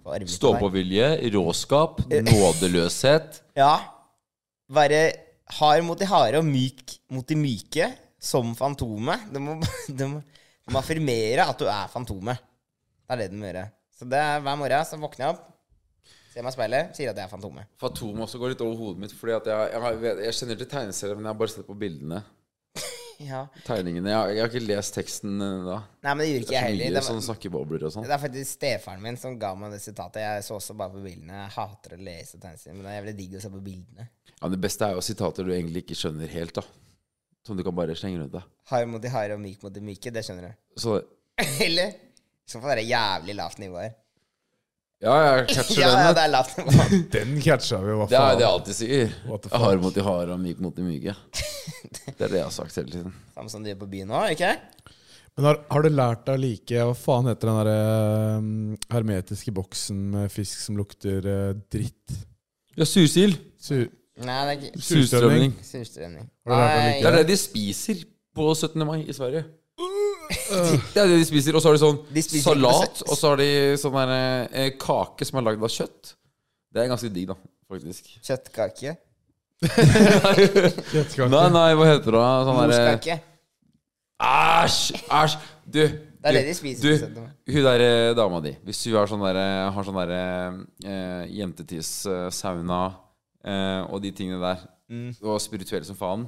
Speaker 4: Få arvet
Speaker 3: Stå
Speaker 4: det der.
Speaker 3: på vilje, råskap,
Speaker 4: Eh.
Speaker 3: nådeløshet.
Speaker 4: Ja. Være hard mot de harde og myk mot de myke, som Fantomet. Du må, du må, du må affirmere at du er Fantomet. Det er det du må gjøre. Så det er hver morgen så våkner jeg opp, ser meg i speilet, sier at jeg er Fantomet.
Speaker 3: Fatom også går litt over hodet mitt, fordi at jeg, jeg, har- jeg kjenner til tegneserien, men jeg har bare sett på bildene.
Speaker 4: Ja.
Speaker 3: Tegningene Jeg, jeg har ikke lest teksten eh, da.
Speaker 4: Nei, men det gjorde
Speaker 3: Det
Speaker 4: ikke
Speaker 3: er så
Speaker 4: jeg heller.
Speaker 3: mye
Speaker 4: Det
Speaker 3: sånn
Speaker 4: var,
Speaker 3: snakkebobler og sånn.
Speaker 4: det er faktisk stefaren min som ga meg det sitatet. Jeg så også bare på bildene. Jeg hater å lese tegneserier, men det er jævlig digg å se på bildene.
Speaker 3: Ja, det beste er jo sitater du egentlig ikke skjønner helt, da. Som du kan bare slenge rundt deg.
Speaker 4: Hard mot de harde og myk mot de myke, det skjønner du.
Speaker 3: Så
Speaker 4: Eller? I så fall er det jævlig lavt nivå her.
Speaker 3: ja, jeg catcher
Speaker 4: Ja, ja,
Speaker 3: den.
Speaker 4: det
Speaker 3: da.
Speaker 4: er lavt nivå.
Speaker 5: Den catcha vi, hva
Speaker 3: Det er
Speaker 5: faen.
Speaker 3: det jeg alltid sier.
Speaker 5: What the
Speaker 3: Jeg har mot de harde og myk mot de myke. Det er det jeg har sagt hele tiden.
Speaker 4: Samme som du gjør sånn på byen nå, ikke?
Speaker 5: Men har, har du lært deg å like Hva faen heter den derre um, hermetiske boksen med fisk som lukter eh, dritt?
Speaker 3: Ja, sursild.
Speaker 5: Su
Speaker 4: Nei, det er ikke
Speaker 5: Surstrømning.
Speaker 3: Surstrømning.
Speaker 4: surstrømning.
Speaker 5: Har du lært å
Speaker 3: Det
Speaker 5: like
Speaker 3: er det de spiser på 17. mai i Sverige. Det er det de spiser. Og så har de sånn
Speaker 4: De spiser
Speaker 3: salat,
Speaker 4: ikke på
Speaker 3: og så har de sånn der eh, kake som er lagd av kjøtt. Det er ganske digg, da, faktisk.
Speaker 4: Kjøttkake.
Speaker 5: Kjøttkake.
Speaker 3: Nei, nei, hva heter det? da? Sånn derre
Speaker 4: Morskake.
Speaker 3: Æsj! Æsj! Du,
Speaker 4: er
Speaker 3: du,
Speaker 4: det de spiser på
Speaker 3: du,
Speaker 4: 17. mai.
Speaker 3: hun der eh, dama di Hvis hun har sånn der, eh, har sånn der eh, jentetiss, eh, sauna eh, og de tingene der, og spirituell som faen,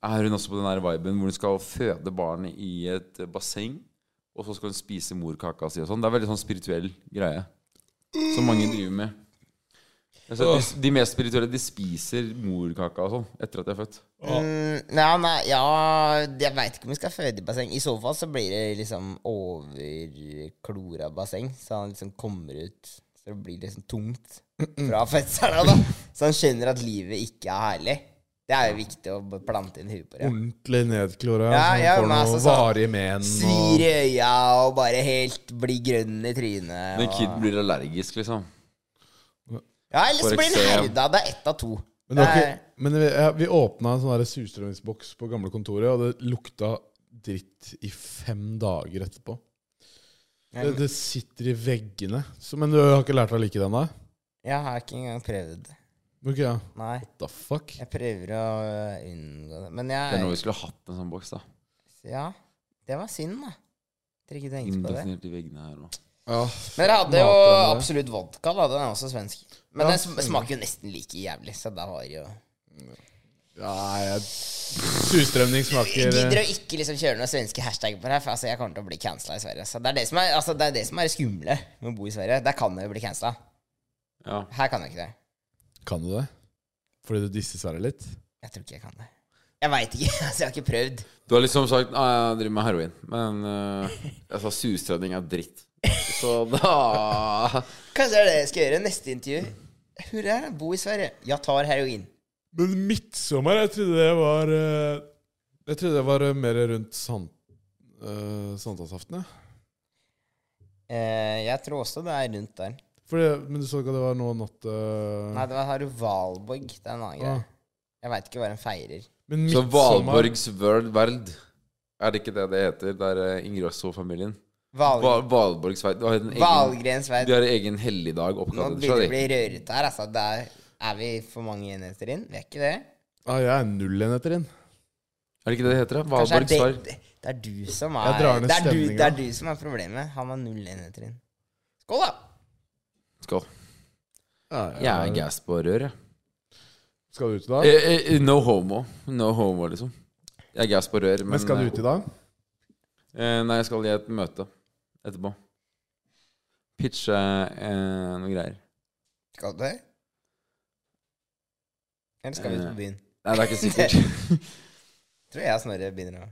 Speaker 3: er hun også på den der viben hvor hun skal føde barn i et eh, basseng, og så skal hun spise morkaka si og sånn? Det er veldig sånn spirituell greie som mange driver med. Altså, de, de mest spirituelle de spiser morkaka og sånn etter at de er født.
Speaker 4: Mm, ja, nei, ja, jeg veit ikke om vi skal føde i basseng. I så fall så blir det liksom overklora basseng, så han liksom kommer ut Så det blir liksom tungt fra fødselen av, da. Så han skjønner at livet ikke er herlig. Det er jo viktig å bare plante inn huet på det.
Speaker 5: Ordentlig nedklora.
Speaker 4: Ja,
Speaker 5: som
Speaker 4: ja,
Speaker 5: får
Speaker 4: men
Speaker 5: noe
Speaker 4: altså, sånn-
Speaker 5: varige men.
Speaker 4: Svir i øya og bare helt blir grønn i trynet.
Speaker 3: Men
Speaker 4: Og...
Speaker 3: kid blir allergisk, liksom.
Speaker 4: Ja, eller
Speaker 3: får
Speaker 4: så blir han
Speaker 3: eksem.
Speaker 4: herda. Det er ett av to.
Speaker 5: Men, det var
Speaker 4: Nei.
Speaker 5: ikke, men vi, ja, vi åpna en sånn der surstrømmingsboks på gamle kontoret, og det lukta dritt i fem dager etterpå. Det, det sitter i veggene. Så, men du har ikke lært deg å like den, da?
Speaker 4: Jeg har ikke engang prøvd.
Speaker 5: Ok, ja.
Speaker 4: Nei.
Speaker 5: The fuck?
Speaker 4: Jeg prøver å øh, unngå det. Men
Speaker 3: Det er noe
Speaker 4: jeg
Speaker 3: vi skulle hatt en sånn boks, da.
Speaker 4: Ja, det var synd, da. Dere ikke tenkte på det.
Speaker 3: Indosinert i veggene her nå.
Speaker 5: Ja.
Speaker 4: Men dere hadde jo
Speaker 5: Maten, det.
Speaker 4: absolutt vodka, da. Den er også svensk. Men
Speaker 5: Ja.
Speaker 4: den sm- smaker jo nesten like jævlig, så da var det jo
Speaker 5: Nei, jeg- surstrømning
Speaker 4: Jeg
Speaker 5: smaker
Speaker 4: gidder å ikke liksom kjøre noen svenske hashtag på det her, for altså, jeg kommer til å bli cancela i Sverige. Så det er det som er, altså, det er det som er det skumle med å bo i Sverige. Der kan jeg jo bli cancela.
Speaker 3: Ja.
Speaker 4: Her kan jeg ikke det.
Speaker 5: eh, Kan du det? Fordi du disser Sverre litt?
Speaker 4: Jeg tror ikke jeg kan det. Jeg veit ikke. altså, Jeg har ikke prøvd.
Speaker 3: Du har liksom sagt at jeg driver med heroin, men eh, jeg sa sustrening er dritt. Så da
Speaker 4: Kanskje det er det jeg skal gjøre. Neste intervju. Hurra, bo i Sverige. Jeg tar heroin.
Speaker 5: Men midtsommer, jeg trodde det var eh, Jeg trodde det var eh, mer rundt sant, eh, sankthansaften, jeg.
Speaker 4: Eh, jeg tror også det er rundt der.
Speaker 5: Fordi- Men du så ikke at det var nå natt eh,
Speaker 4: Nei, det var her Valborg. Det er en annen greie.
Speaker 5: Ah.
Speaker 4: Jeg veit ikke hva den feirer.
Speaker 5: Men
Speaker 3: Så
Speaker 5: midtsommer-
Speaker 3: Valborgs world, world Er det ikke det det heter? Det er eh, Ingrosso-familien.
Speaker 4: Valg,
Speaker 3: Val Valborgs vei. Du har en egen, du
Speaker 4: Valgrens vei.
Speaker 3: har en egen helligdag
Speaker 4: Nå
Speaker 3: oppkalt
Speaker 4: begynner det å
Speaker 3: etter
Speaker 4: bli
Speaker 3: deg.
Speaker 4: rørete her. Altså, der er vi for mange enheter inn. Vi er ikke det.
Speaker 5: Ja, jeg er null enheter inn.
Speaker 3: Er det ikke det det heter? da?
Speaker 4: Kanskje
Speaker 3: Valborgs
Speaker 4: er
Speaker 3: vei.
Speaker 4: det, det er du som
Speaker 5: Jeg
Speaker 4: er
Speaker 5: drar ned
Speaker 4: det er, du,
Speaker 5: stemningen.
Speaker 4: det er du som er problemet. Han har null enheter inn. Skål, da!
Speaker 3: Skål.
Speaker 5: Ja,
Speaker 3: Jeg er gass på rør, jeg.
Speaker 5: Skal du ut i dag?
Speaker 3: Eh, eh, No homo. No homo, liksom. Jeg er gass på rør, men
Speaker 5: Men skal du ut i dag?
Speaker 3: Eh, nei, jeg skal i et møte etterpå. Pitche eh, noen greier.
Speaker 4: Skal du det? Eller skal vi ut på byen?
Speaker 3: Nei, det er ikke sikkert.
Speaker 4: Tror jeg og Snorre begynner å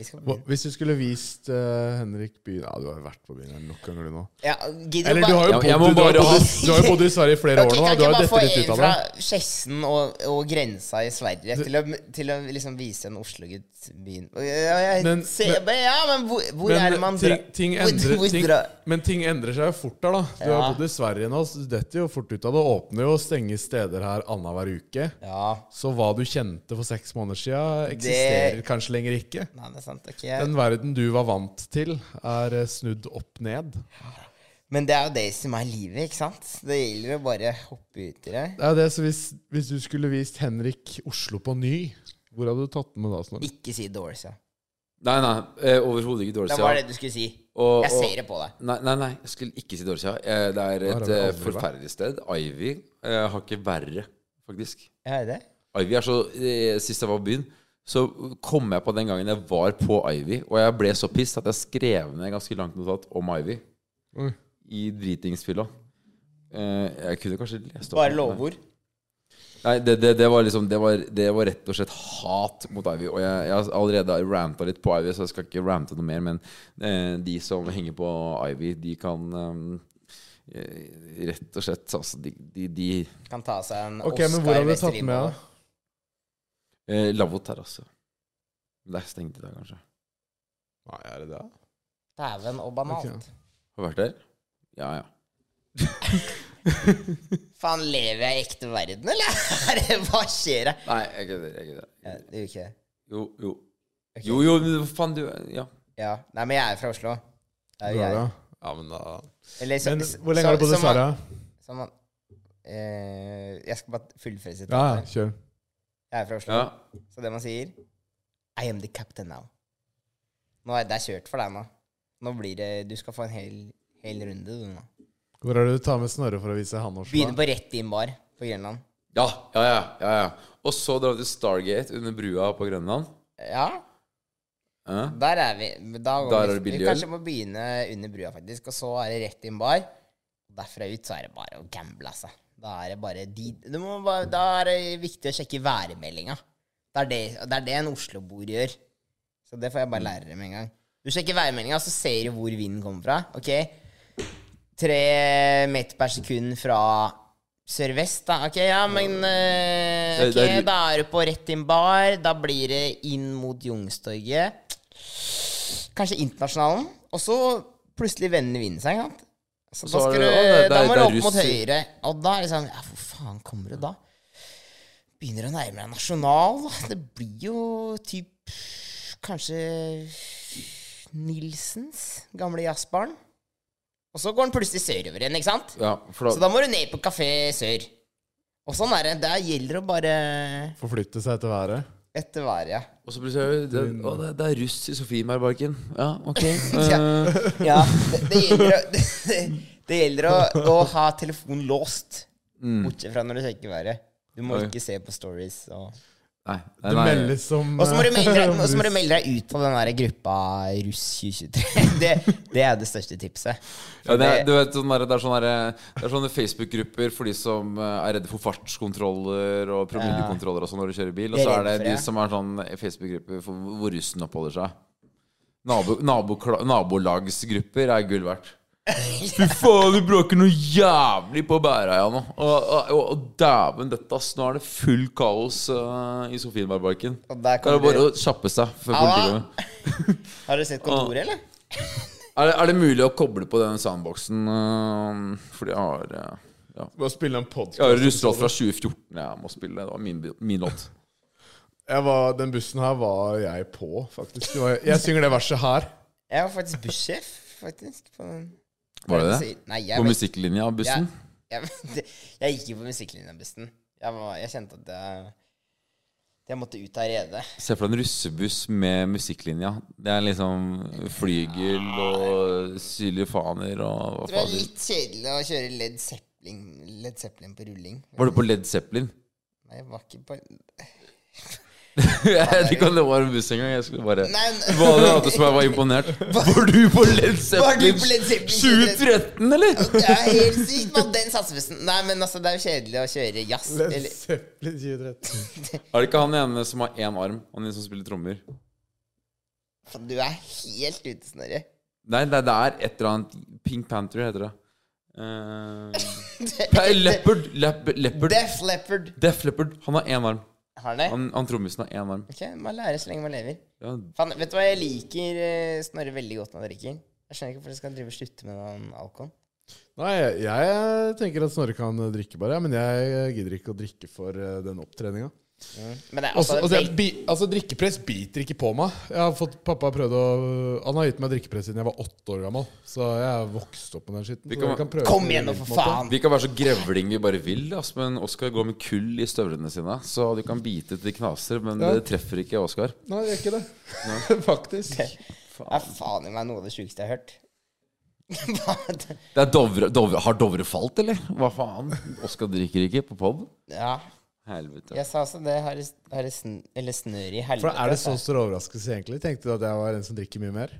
Speaker 4: Vi skal på
Speaker 5: Hva-
Speaker 4: byen.
Speaker 5: Hvis du skulle vist eh, Henrik byen Ja, du har jo vært på byen her nok ganger, du nå.
Speaker 4: Ja, gidder
Speaker 5: Eller
Speaker 4: bare-
Speaker 5: du har jo
Speaker 3: Jeg-
Speaker 5: bodd,
Speaker 3: jeg må
Speaker 5: du har
Speaker 3: bare
Speaker 5: jo
Speaker 3: ha-
Speaker 5: bodd, i- du har jo bodd i Sverige i flere
Speaker 4: Ok,
Speaker 5: år
Speaker 4: kan
Speaker 5: nå. da. Du
Speaker 4: ikke
Speaker 5: har jo
Speaker 4: bare få
Speaker 5: dette litt
Speaker 4: en
Speaker 5: ut av
Speaker 4: fra
Speaker 5: det.
Speaker 4: Skjessen og, og grensa i Sverige til å, til å liksom vise en Oslo-gutt byen Og jeg- jeg-
Speaker 5: Men-
Speaker 4: se-
Speaker 5: men-
Speaker 4: bare, Ja, men hvor, hvor er det man
Speaker 5: Men ting,
Speaker 4: drar-
Speaker 5: ting
Speaker 4: hvor-
Speaker 5: endrer,
Speaker 4: hvor
Speaker 5: ting,
Speaker 4: drar-
Speaker 5: men ting endrer seg jo fort der, da. Du har
Speaker 4: Ja.
Speaker 5: bodd i Sverige nå, så du detter jo fort ut av det. Åpner jo og stenger steder her annenhver uke.
Speaker 4: Ja,
Speaker 5: Så hva du kjente for seks måneder siden eksisterer
Speaker 4: Det-
Speaker 5: kanskje lenger ikke.
Speaker 4: nei, det er sant. ok
Speaker 5: Den verden du var vant til, er eh, snudd opp ned.
Speaker 4: Men det er jo det som er livet, ikke sant? Det gjelder å bare hoppe ut i det.
Speaker 5: Det er det, så hvis, hvis du skulle vist Henrik Oslo på ny, hvor hadde du tatt den med da, Snorre?
Speaker 4: Ikke si Doors, ja.
Speaker 3: Nei, nei. Eh, Overhodet ikke dårlig
Speaker 4: Det var det du skulle si.
Speaker 3: Og-
Speaker 4: Jeg
Speaker 3: og-
Speaker 4: ser det på deg.
Speaker 3: Nei, nei, nei, jeg skulle ikke si Dorsia. Eh, det er
Speaker 5: har
Speaker 3: et
Speaker 5: vi
Speaker 3: eh,
Speaker 5: aldri vært.
Speaker 3: forferdelig sted. Ivy eh, har ikke verre, faktisk.
Speaker 4: Jeg hører det.
Speaker 3: Ivy er så eh, Sist jeg var på byen, så kom jeg på den gangen jeg var på Ivy, og jeg ble så pissed at jeg skrev ned ganske langt notat om Ivy
Speaker 2: Oi.
Speaker 3: i dritingsfylla. Eh, jeg kunne kanskje lest opp
Speaker 4: Bare
Speaker 3: noe.
Speaker 4: lovord.
Speaker 3: Nei, det, det, det var liksom det var, det var rett og slett hat mot Ivy. Og jeg, jeg har allerede ranta litt på Ivy, så jeg skal ikke rante noe mer. Men eh, de som henger på Ivy, de kan eh, eh, rett og slett altså, De, de, de
Speaker 4: Kan ta seg en
Speaker 5: Ok,
Speaker 4: Oscar
Speaker 5: men hvor har du tatt
Speaker 4: Westerlin
Speaker 5: med
Speaker 4: over.
Speaker 5: da?
Speaker 3: eh, Lavvo terrasse. Det er stengt i dag, kanskje.
Speaker 5: Nei, er det det?
Speaker 4: Dæven og banalt.
Speaker 5: Ok.
Speaker 3: Har du vært der? Ja, ja.
Speaker 4: Faen, lever jeg i ekte verden, eller? Hva skjer her?
Speaker 3: Nei, jeg kødder. Jeg kødder.
Speaker 4: Ja, det gjør ikke det.
Speaker 3: Jo, jo. Jo, jo, men faen, du Ja.
Speaker 4: Ja. Nei, men jeg er fra Oslo. Det er jo jeg.
Speaker 5: Ja, men da
Speaker 4: Eller så-
Speaker 5: Men
Speaker 4: så-
Speaker 5: hvor lenge
Speaker 4: så-
Speaker 5: har du bodd i
Speaker 4: som man-
Speaker 5: Sverige?
Speaker 4: som man- eh, jeg skal bare fullføre sitt.
Speaker 5: Ja, ja, kjør.
Speaker 4: Jeg er fra Oslo.
Speaker 3: ja.
Speaker 4: Så det man sier I am the captain now. Nå er det er kjørt for deg nå. Nå blir det Du skal få en hel, hel runde, du nå.
Speaker 5: Hvor er det du tar med Snorre for å vise han
Speaker 4: Begynner
Speaker 5: årsdag?
Speaker 4: på rett inn bar på Grønland.
Speaker 3: Ja, ja, ja. ja, ja. Og så drar vi til Stargate under brua på Grønland.
Speaker 4: Ja,
Speaker 3: Ja.
Speaker 4: der er vi. Da går
Speaker 3: Der
Speaker 4: vi-
Speaker 3: er det billig
Speaker 4: vi
Speaker 3: øl.
Speaker 4: kanskje må begynne under brua, faktisk. Og så er det rett inn bar. Derfra ut så er det bare å gamble, altså. Da er det bare de du må bare, Da er det viktig å sjekke værmeldinga. Det er det, det er det en Oslo-bor gjør. Så det får jeg
Speaker 3: Mm.
Speaker 4: bare lære dem en gang. Du sjekker værmeldinga, så ser du hvor vinden kommer fra. Ok? Tre meter per sekund fra sørvest, da. Ok, ja, men eh,
Speaker 3: Mm. Det-
Speaker 4: Ok,
Speaker 3: det er-
Speaker 4: da er du på rett inn bar. Da blir det inn mot Youngstorget kanskje internasjonalen, og så plutselig vender vinden seg. ikke sant? Så
Speaker 3: Så
Speaker 4: da,
Speaker 3: er
Speaker 4: skal
Speaker 3: det-
Speaker 4: du,
Speaker 3: å, det er-
Speaker 4: da
Speaker 3: det er-
Speaker 4: må
Speaker 3: det
Speaker 4: du
Speaker 3: er
Speaker 4: opp mot
Speaker 3: russ-
Speaker 4: høyre, og da er det sånn Ja, hvor faen kommer du da? Begynner å nærme deg nasjonal. da. Det blir jo typ kanskje Nilsens gamle jazzbarn. Og så går den plutselig sørover igjen, ikke sant?
Speaker 3: ja for
Speaker 4: Så da må du ned på Kafé Sør. Og sånn er det. Der gjelder det å bare
Speaker 5: Forflytte seg etter været?
Speaker 4: etter været, ja.
Speaker 3: Og så plutselig er det, å, det, det er russ i Sofienbergparken. Ja, ok. Eh,
Speaker 4: Ja, det, det gjelder å, det, det gjelder å, å ha telefonen låst,
Speaker 3: Mm.
Speaker 4: bortsett fra når du sjekker været. Du må
Speaker 3: Oi.
Speaker 4: ikke se på stories. Og,
Speaker 3: nei, nei,
Speaker 5: Du
Speaker 3: nei.
Speaker 5: meldes som eh,
Speaker 4: og så må du melde deg, og så må du
Speaker 5: russ.
Speaker 4: melde deg ut av den der gruppa Russ 2023. Det, det er det største tipset.
Speaker 3: Ja, det, er- du vet, sånn der, det er sånne, der- det er sånne Facebook-grupper for de som eh, er redde for fartskontroller og promillekontroller og sånn når du kjører bil. Og
Speaker 4: Det er
Speaker 3: så er det
Speaker 4: redd for,
Speaker 3: de
Speaker 4: ja.
Speaker 3: som er sånn Facebook-grupper for hvor russen oppholder seg. Nabo, nabokla- nabolagsgrupper er gull verdt. Fy faen, du bråker noe jævlig på Bæreia nå. Og, og, og, og dæven døtte, ass. Nå er det full kaos eh, i Sofienbergparken.
Speaker 4: Og
Speaker 3: Det
Speaker 4: der
Speaker 3: er
Speaker 4: kommer
Speaker 3: bare
Speaker 4: du.
Speaker 3: å kjappe seg før
Speaker 4: Au, au.
Speaker 3: politiet kommer.
Speaker 4: Har du sett kontoret, eller?
Speaker 3: Er det, er det mulig å koble på den soundboxen? øhm, fordi jeg har øh, ja.
Speaker 5: Bare spille en
Speaker 3: Jeg har
Speaker 5: podkast.
Speaker 3: russelåt fra 2014 jeg må spille. Det var min, min låt.
Speaker 5: Den bussen her var jeg på, faktisk. Det var- Jeg synger det verset her.
Speaker 4: Jeg var faktisk bussjef. Faktisk, på den.
Speaker 3: Var det det?
Speaker 4: Nei, jeg
Speaker 3: På
Speaker 4: var-
Speaker 3: musikklinja av bussen?
Speaker 4: Jeg, jeg, jeg gikk jo på musikklinjebussen. Jeg, var- jeg kjente at jeg, jeg måtte ut av redet.
Speaker 3: Se for deg en russebuss med musikklinja. Det er liksom flygel og sylifaner og hva
Speaker 4: Det var
Speaker 3: fader.
Speaker 4: litt kjedelig å kjøre Led Zeppelin, Led Zeppelin på rulling.
Speaker 3: Var du på Led Zeppelin?
Speaker 4: Nei, jeg var ikke på Nei,
Speaker 3: Jeg vet ikke om det var en buss engang. Jeg skulle bare
Speaker 4: nei.
Speaker 3: Hva det hadde som jeg var imponert. Var du på Led
Speaker 4: Var du på Led
Speaker 3: Zeppelin
Speaker 4: Zeppelin?
Speaker 3: 2013, eller?
Speaker 4: Det er helt sykt, mann. Den satsebussen. Nei, men altså, det er jo kjedelig å kjøre jazz.
Speaker 5: Led
Speaker 4: Eller,
Speaker 5: Zeppelin 2013.
Speaker 3: Er det ikke han ene som har én arm? Han ene som spiller trommer?
Speaker 4: Faen, du er helt ute, Snorre.
Speaker 3: Nei, det, det er et eller annet Pink Panther heter det. Uh, leopard, leopard, leopard.
Speaker 4: Def Leppard.
Speaker 3: Def Leopard. Han har én arm.
Speaker 4: Har han det?
Speaker 3: Han, han trommisen har én arm.
Speaker 4: Ok, man lærer så lenge man lever.
Speaker 3: Ja,
Speaker 4: Faen, vet du hva jeg liker eh, Snorre veldig godt når han drikker? Jeg skjønner ikke hvorfor jeg skal drive og slutte med den alkoholen.
Speaker 5: Nei, jeg, jeg tenker at Snorre kan eh, drikke bare, ja, men jeg eh, gidder ikke å drikke for eh, den opptreninga.
Speaker 4: Men det er
Speaker 5: Også,
Speaker 4: altså,
Speaker 5: altså, jeg,
Speaker 4: vel-
Speaker 5: bi, altså, drikkepress biter ikke på meg. Jeg har fått, pappa har prøvd å Han har gitt meg drikkepress siden jeg var åtte år gammel. Så jeg har vokst opp med den skitten.
Speaker 3: Vi
Speaker 5: så
Speaker 3: kan-
Speaker 5: jeg kan prøve
Speaker 4: Kom
Speaker 5: på
Speaker 4: igjen nå,
Speaker 5: en
Speaker 4: for
Speaker 5: måte.
Speaker 4: faen!
Speaker 3: Vi kan være så grevling vi bare vil, ass, men Oskar går med kull i støvlene sine. Så du kan bite til de knaser, men
Speaker 5: Ja.
Speaker 3: det treffer ikke Oskar.
Speaker 5: Nei, det gjør ikke det. Faktisk.
Speaker 4: Det er faen i meg noe av det sjukeste jeg har hørt. Bare-
Speaker 3: Det er Dovre, Dovre, har Dovre falt, eller? Hva faen? Oskar drikker ikke på pod.
Speaker 4: Ja.
Speaker 3: Helvete.
Speaker 4: Jeg sa også det. Har det- har det sn eller snør i helvete.
Speaker 5: For er det så
Speaker 4: altså.
Speaker 5: stor overraskelse, egentlig? Tenkte du at jeg var en som drikker mye mer?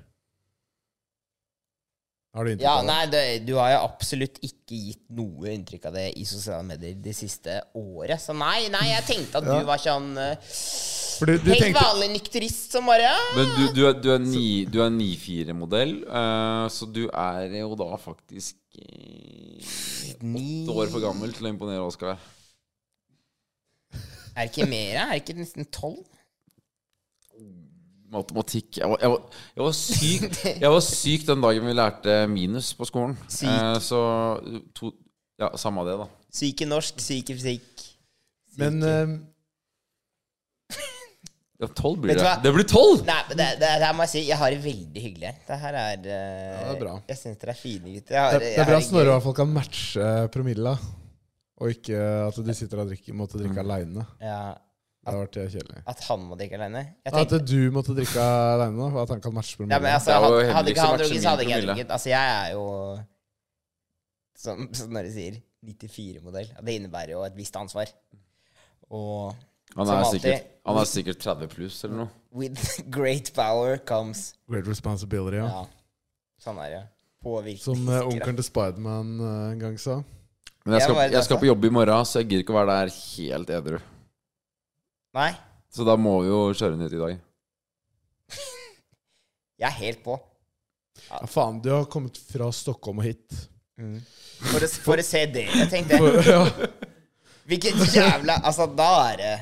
Speaker 5: Har du inntrykk
Speaker 4: Ja,
Speaker 5: av det?
Speaker 4: nei, det, du har jo absolutt ikke gitt noe inntrykk av det i sosiale medier det siste året. Så nei, nei, jeg tenkte at du var sånn eh,
Speaker 5: For du, du
Speaker 4: helt
Speaker 5: tenkte
Speaker 4: vanlig nykterist som bare ja.
Speaker 3: Men du, du, er- du er ni- du er 9-4-modell, eh, så du er jo da faktisk eh,
Speaker 4: Ni-
Speaker 3: åtte år for gammel til å imponere Oskar.
Speaker 4: Er det ikke mer? da? Er det ikke nesten tolv?
Speaker 3: Matematikk jeg var, jeg, var, jeg, var syk, jeg var syk den dagen vi lærte minus på skolen.
Speaker 4: Syk.
Speaker 3: Eh, så to, Ja, samme av det, da.
Speaker 4: Syk i norsk, syk i fysikk.
Speaker 5: Men eh,
Speaker 3: Ja, 12 blir
Speaker 4: Vet du
Speaker 3: det.
Speaker 4: hva?
Speaker 3: Det blir 12!
Speaker 4: Nei, men det, det, det her må jeg si, jeg har det veldig hyggelig her. Det her er eh,
Speaker 5: Ja, det er bra.
Speaker 4: Jeg syns dere er fine gutter. Jeg har,
Speaker 5: det, det
Speaker 4: jeg
Speaker 5: er bra
Speaker 4: har
Speaker 5: at
Speaker 4: det
Speaker 5: Snorre i
Speaker 4: gøy.
Speaker 5: hvert fall kan matche eh, promilla, og ikke eh, at du sitter og drikker, måtte drikke aleine.
Speaker 4: Ja,
Speaker 5: Det har vært eh, kjedelig.
Speaker 4: at han må drikke alene. Jeg
Speaker 5: At
Speaker 4: tenkte,
Speaker 5: eh, du måtte drikke aleine, og at han kan matche
Speaker 4: ja, men
Speaker 5: promilla.
Speaker 4: altså,
Speaker 3: Det er jo heldigvis
Speaker 4: hadde, hadde ikke han
Speaker 3: vært så
Speaker 4: drukket, så hadde
Speaker 3: mye
Speaker 4: ikke jeg
Speaker 3: promille.
Speaker 4: drukket. Altså, jeg er jo, som som Snorre sier, 94-modell. Og Det innebærer jo et visst ansvar. Og
Speaker 3: Han
Speaker 4: Som
Speaker 3: er,
Speaker 4: alltid.
Speaker 3: sikkert, han er sikkert 30 pluss eller noe.
Speaker 4: with great power comes
Speaker 5: Great responsibility, ja.
Speaker 4: Ja. Sånn er det. Påvirkning.
Speaker 5: Som eh, onkelen til Spiderman eh, en gang sa.
Speaker 3: Men jeg
Speaker 4: Jeg
Speaker 3: skal,
Speaker 4: var i
Speaker 3: jeg skal
Speaker 4: dette.
Speaker 3: på jobb i morgen, så jeg gidder ikke å være der helt edru.
Speaker 4: Nei,
Speaker 3: Så da må vi jo kjøre ned i dag.
Speaker 4: jeg er helt på.
Speaker 5: Ja, faen, du har kommet fra Stockholm og hit.
Speaker 4: For å, for å se dere, tenkte jeg.
Speaker 5: ja.
Speaker 4: Hvilket jævla Altså, da er det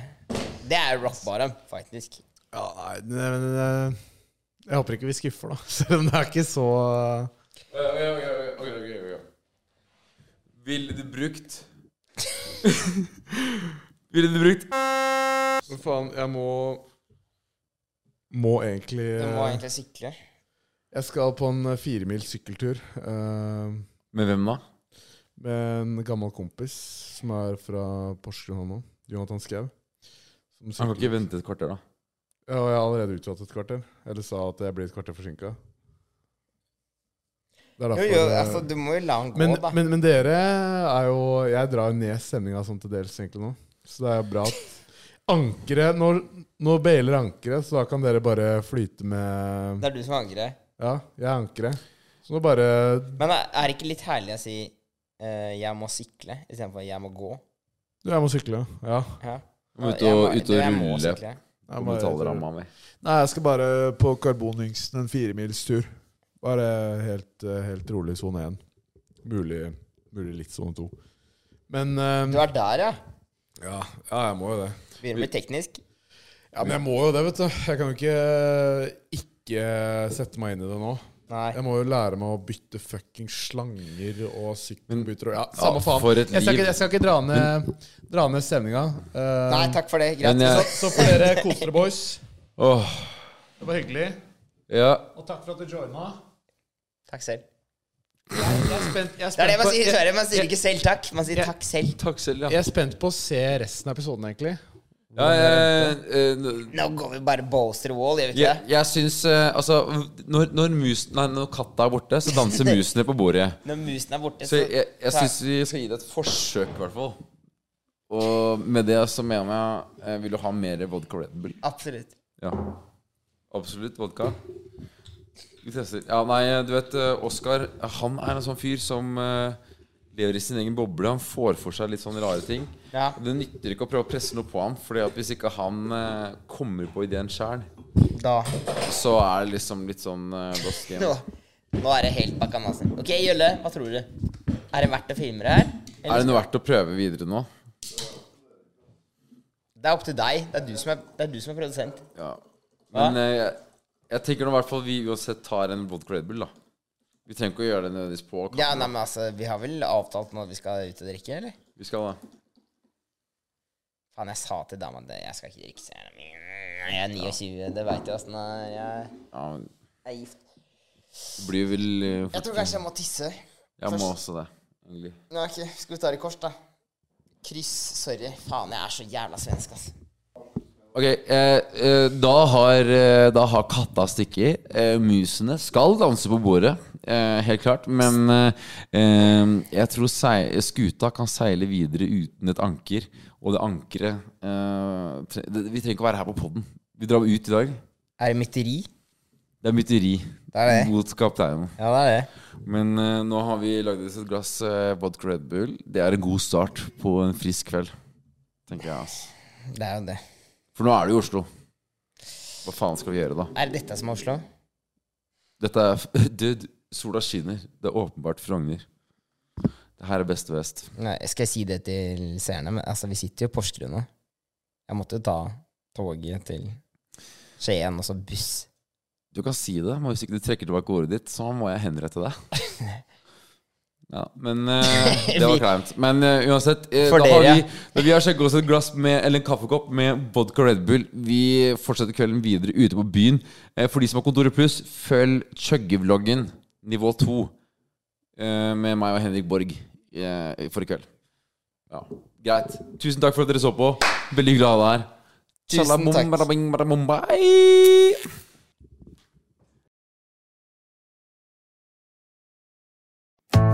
Speaker 4: Det er rock bottom, faktisk.
Speaker 5: Ja, nei, nei, men eh, Jeg håper ikke vi skuffer, da. Selv om det er ikke så eh,
Speaker 3: Ville du brukt Ville du brukt
Speaker 5: Men faen, jeg må Må egentlig eh,
Speaker 4: Du må egentlig sykle.
Speaker 5: Jeg skal på en eh, firemil sykkeltur eh,
Speaker 3: Med hvem da?
Speaker 5: med en gammel kompis som er fra Porsgrunn nå. Jonathan Skau. Som
Speaker 3: Han kan
Speaker 5: sykler.
Speaker 3: ikke vente et kvarter, da.
Speaker 5: Ja, og jeg har allerede utsatt et kvarter. Eller sa at jeg blir et kvarter forsinka.
Speaker 4: Jo,
Speaker 5: Det er derfor
Speaker 4: jo,
Speaker 5: eh,
Speaker 4: altså, du må jo la han gå,
Speaker 5: men,
Speaker 4: da.
Speaker 5: men, men dere er jo Jeg drar jo ned stemninga sånn til dels egentlig nå. Så det er jo bra at ankeret Nå, nå bailer ankeret, så da kan dere bare flyte med
Speaker 4: Det er du som angrer.
Speaker 5: Ja, jeg er ankeret. Så nå bare
Speaker 4: Men er er det ikke litt herlig å si eh, 'jeg må sykle' istedenfor 'jeg må gå'?
Speaker 5: Du, jeg må sykle. Ja.
Speaker 4: Ja.
Speaker 3: må ut
Speaker 4: Jeg
Speaker 3: og-
Speaker 4: må-
Speaker 3: ut og
Speaker 4: du, jeg må
Speaker 3: rulle.
Speaker 4: sykle.
Speaker 5: Jeg
Speaker 3: Om du taler om meg.
Speaker 5: Nei, jeg skal bare på karbonhingsten en firemilstur. Bare helt, eh, helt rolig sone én. Mulig, mulig litt sone to. Men eh,
Speaker 4: Du er der, ja?
Speaker 5: ja, ja, jeg må jo det.
Speaker 4: Begynner å bli teknisk.
Speaker 5: Ja, men jeg må jo det, vet du. Jeg kan jo ikke eh, ikke sette meg inn i det nå.
Speaker 4: Nei.
Speaker 5: Jeg må jo lære meg å bytte fucking slanger og sykkelbytter og Ja,
Speaker 3: Ja,
Speaker 5: samme faen.
Speaker 3: for et
Speaker 5: Jeg skal
Speaker 3: liv.
Speaker 5: ikke, jeg skal ikke dra ned, dra ned stemninga. Eh,
Speaker 4: Nei, takk for det.
Speaker 3: Men
Speaker 4: Greit.
Speaker 5: så,
Speaker 3: jeg,
Speaker 5: så får dere kose dere, boys.
Speaker 3: åh,
Speaker 5: Det var hyggelig.
Speaker 3: ja.
Speaker 5: Og takk for at du joina.
Speaker 4: Takk selv.
Speaker 5: Jeg er spent, jeg er
Speaker 4: Det er det man
Speaker 5: spent på,
Speaker 4: sier i
Speaker 5: jeg,
Speaker 4: Sverige. Man sier ikke 'selv takk', man sier
Speaker 5: Jeg-
Speaker 4: 'takk selv'.
Speaker 3: Takk selv, ja.
Speaker 5: jeg er spent på å se resten av episoden, egentlig.
Speaker 3: ja jeg, eh,
Speaker 4: Nå går vi bare Boaster Wall, gjør vi ikke
Speaker 3: jeg,
Speaker 4: det?
Speaker 3: jeg syns eh, Altså, når, når musen Nei, når katta er borte, så danser musene på bordet.
Speaker 4: Når musen er borte,
Speaker 3: Så
Speaker 4: så
Speaker 3: jeg, jeg syns vi skal gi det et forsøk, i hvert fall. Og med det så mener jeg eh, Vil du ha mer vodka Red Bull?
Speaker 4: Absolutt.
Speaker 3: Ja. Absolutt vodka. Vi tester. Ja, nei, du vet, eh, Oskar han er en sånn fyr som eh, lever i sin egen boble. Han får for seg litt sånne rare ting.
Speaker 4: Ja.
Speaker 3: Det nytter ikke å prøve å presse noe på ham, Fordi at hvis ikke han eh, kommer på ideen sjæl,
Speaker 4: Da.
Speaker 3: så er det liksom litt sånn eh, blåst igjen.
Speaker 4: Nå, nå er det helt bakkanasen. Ok, Jølle, hva tror du? Er det verdt å filme det her?
Speaker 3: Er det noe verdt å prøve videre nå?
Speaker 4: Det er opp til deg. Det er du som er, det er, du som er produsent.
Speaker 3: Ja. Men eh, jeg, jeg tenker nå i hvert fall vi uansett tar en vodka Red Bull, da. Vi trenger ikke å gjøre det nødvendigvis på kamera.
Speaker 4: Ja, nei, men altså, Vi har vel avtalt nå at vi skal ut og drikke, eller?
Speaker 3: Vi skal da.
Speaker 4: Faen, jeg sa til dama det. Jeg skal ikke drikke. så jeg- Jeg er 29, det veit jeg åssen det er. Jeg
Speaker 3: Ja, men
Speaker 4: er gift.
Speaker 3: det blir vel eh,
Speaker 4: Jeg tror kanskje jeg må tisse.
Speaker 3: Jeg må også det. Egentlig.
Speaker 4: Nei, ok, Skal vi ta det i kors, da? Kryss. Sorry. Faen, jeg er så jævla svensk, ass.
Speaker 3: Ok, eh, eh, da, har, eh, da har katta stikket. Eh, musene skal danse på bordet. eh, helt klart. Men eh, eh, jeg tror sei- skuta kan seile videre uten et anker. Og det ankeret eh, tre- det- Vi trenger ikke å være her på poden. Vi drar ut i dag.
Speaker 4: Er det mytteri?
Speaker 3: Det er mytteri
Speaker 4: Det er det.
Speaker 3: mot kapteinen.
Speaker 4: Ja, det er det.
Speaker 3: Men eh, nå har vi lagd oss et glass eh, vodka Red Bull. Det er en god start på en frisk kveld, tenker jeg. ass.
Speaker 4: Det er jo det.
Speaker 3: For nå er det jo Oslo. Hva faen skal vi gjøre, da?
Speaker 4: Er det dette som er Oslo?
Speaker 3: Dette er f- Dude, sola skinner. Det er åpenbart Frogner. Det her er beste vest.
Speaker 4: Nei, skal jeg si det til seerne? Men altså, vi sitter jo i Porsgrunn nå. Jeg måtte jo ta toget til Skien, og så buss.
Speaker 3: Du kan si det, men hvis ikke du trekker tilbake ordet ditt, så må jeg henrette deg. Ja, men eh, Det var kleint. Men eh, uansett, eh,
Speaker 4: For
Speaker 3: da har
Speaker 4: dere.
Speaker 3: vi, da vi har sjekket oss et glass med, eller en kaffekopp med vodka Red Bull. Vi fortsetter kvelden videre ute på byen. Eh, for de som har Kontoret Pluss, følg Chugge-vloggen nivå 2 eh, med meg og Henrik Borg eh, for i kveld. Ja, Greit. Tusen takk for at dere så på. Veldig glad i deg her.
Speaker 4: Tusen
Speaker 3: Shalabom,
Speaker 4: takk.
Speaker 3: badabing, badabom, bye.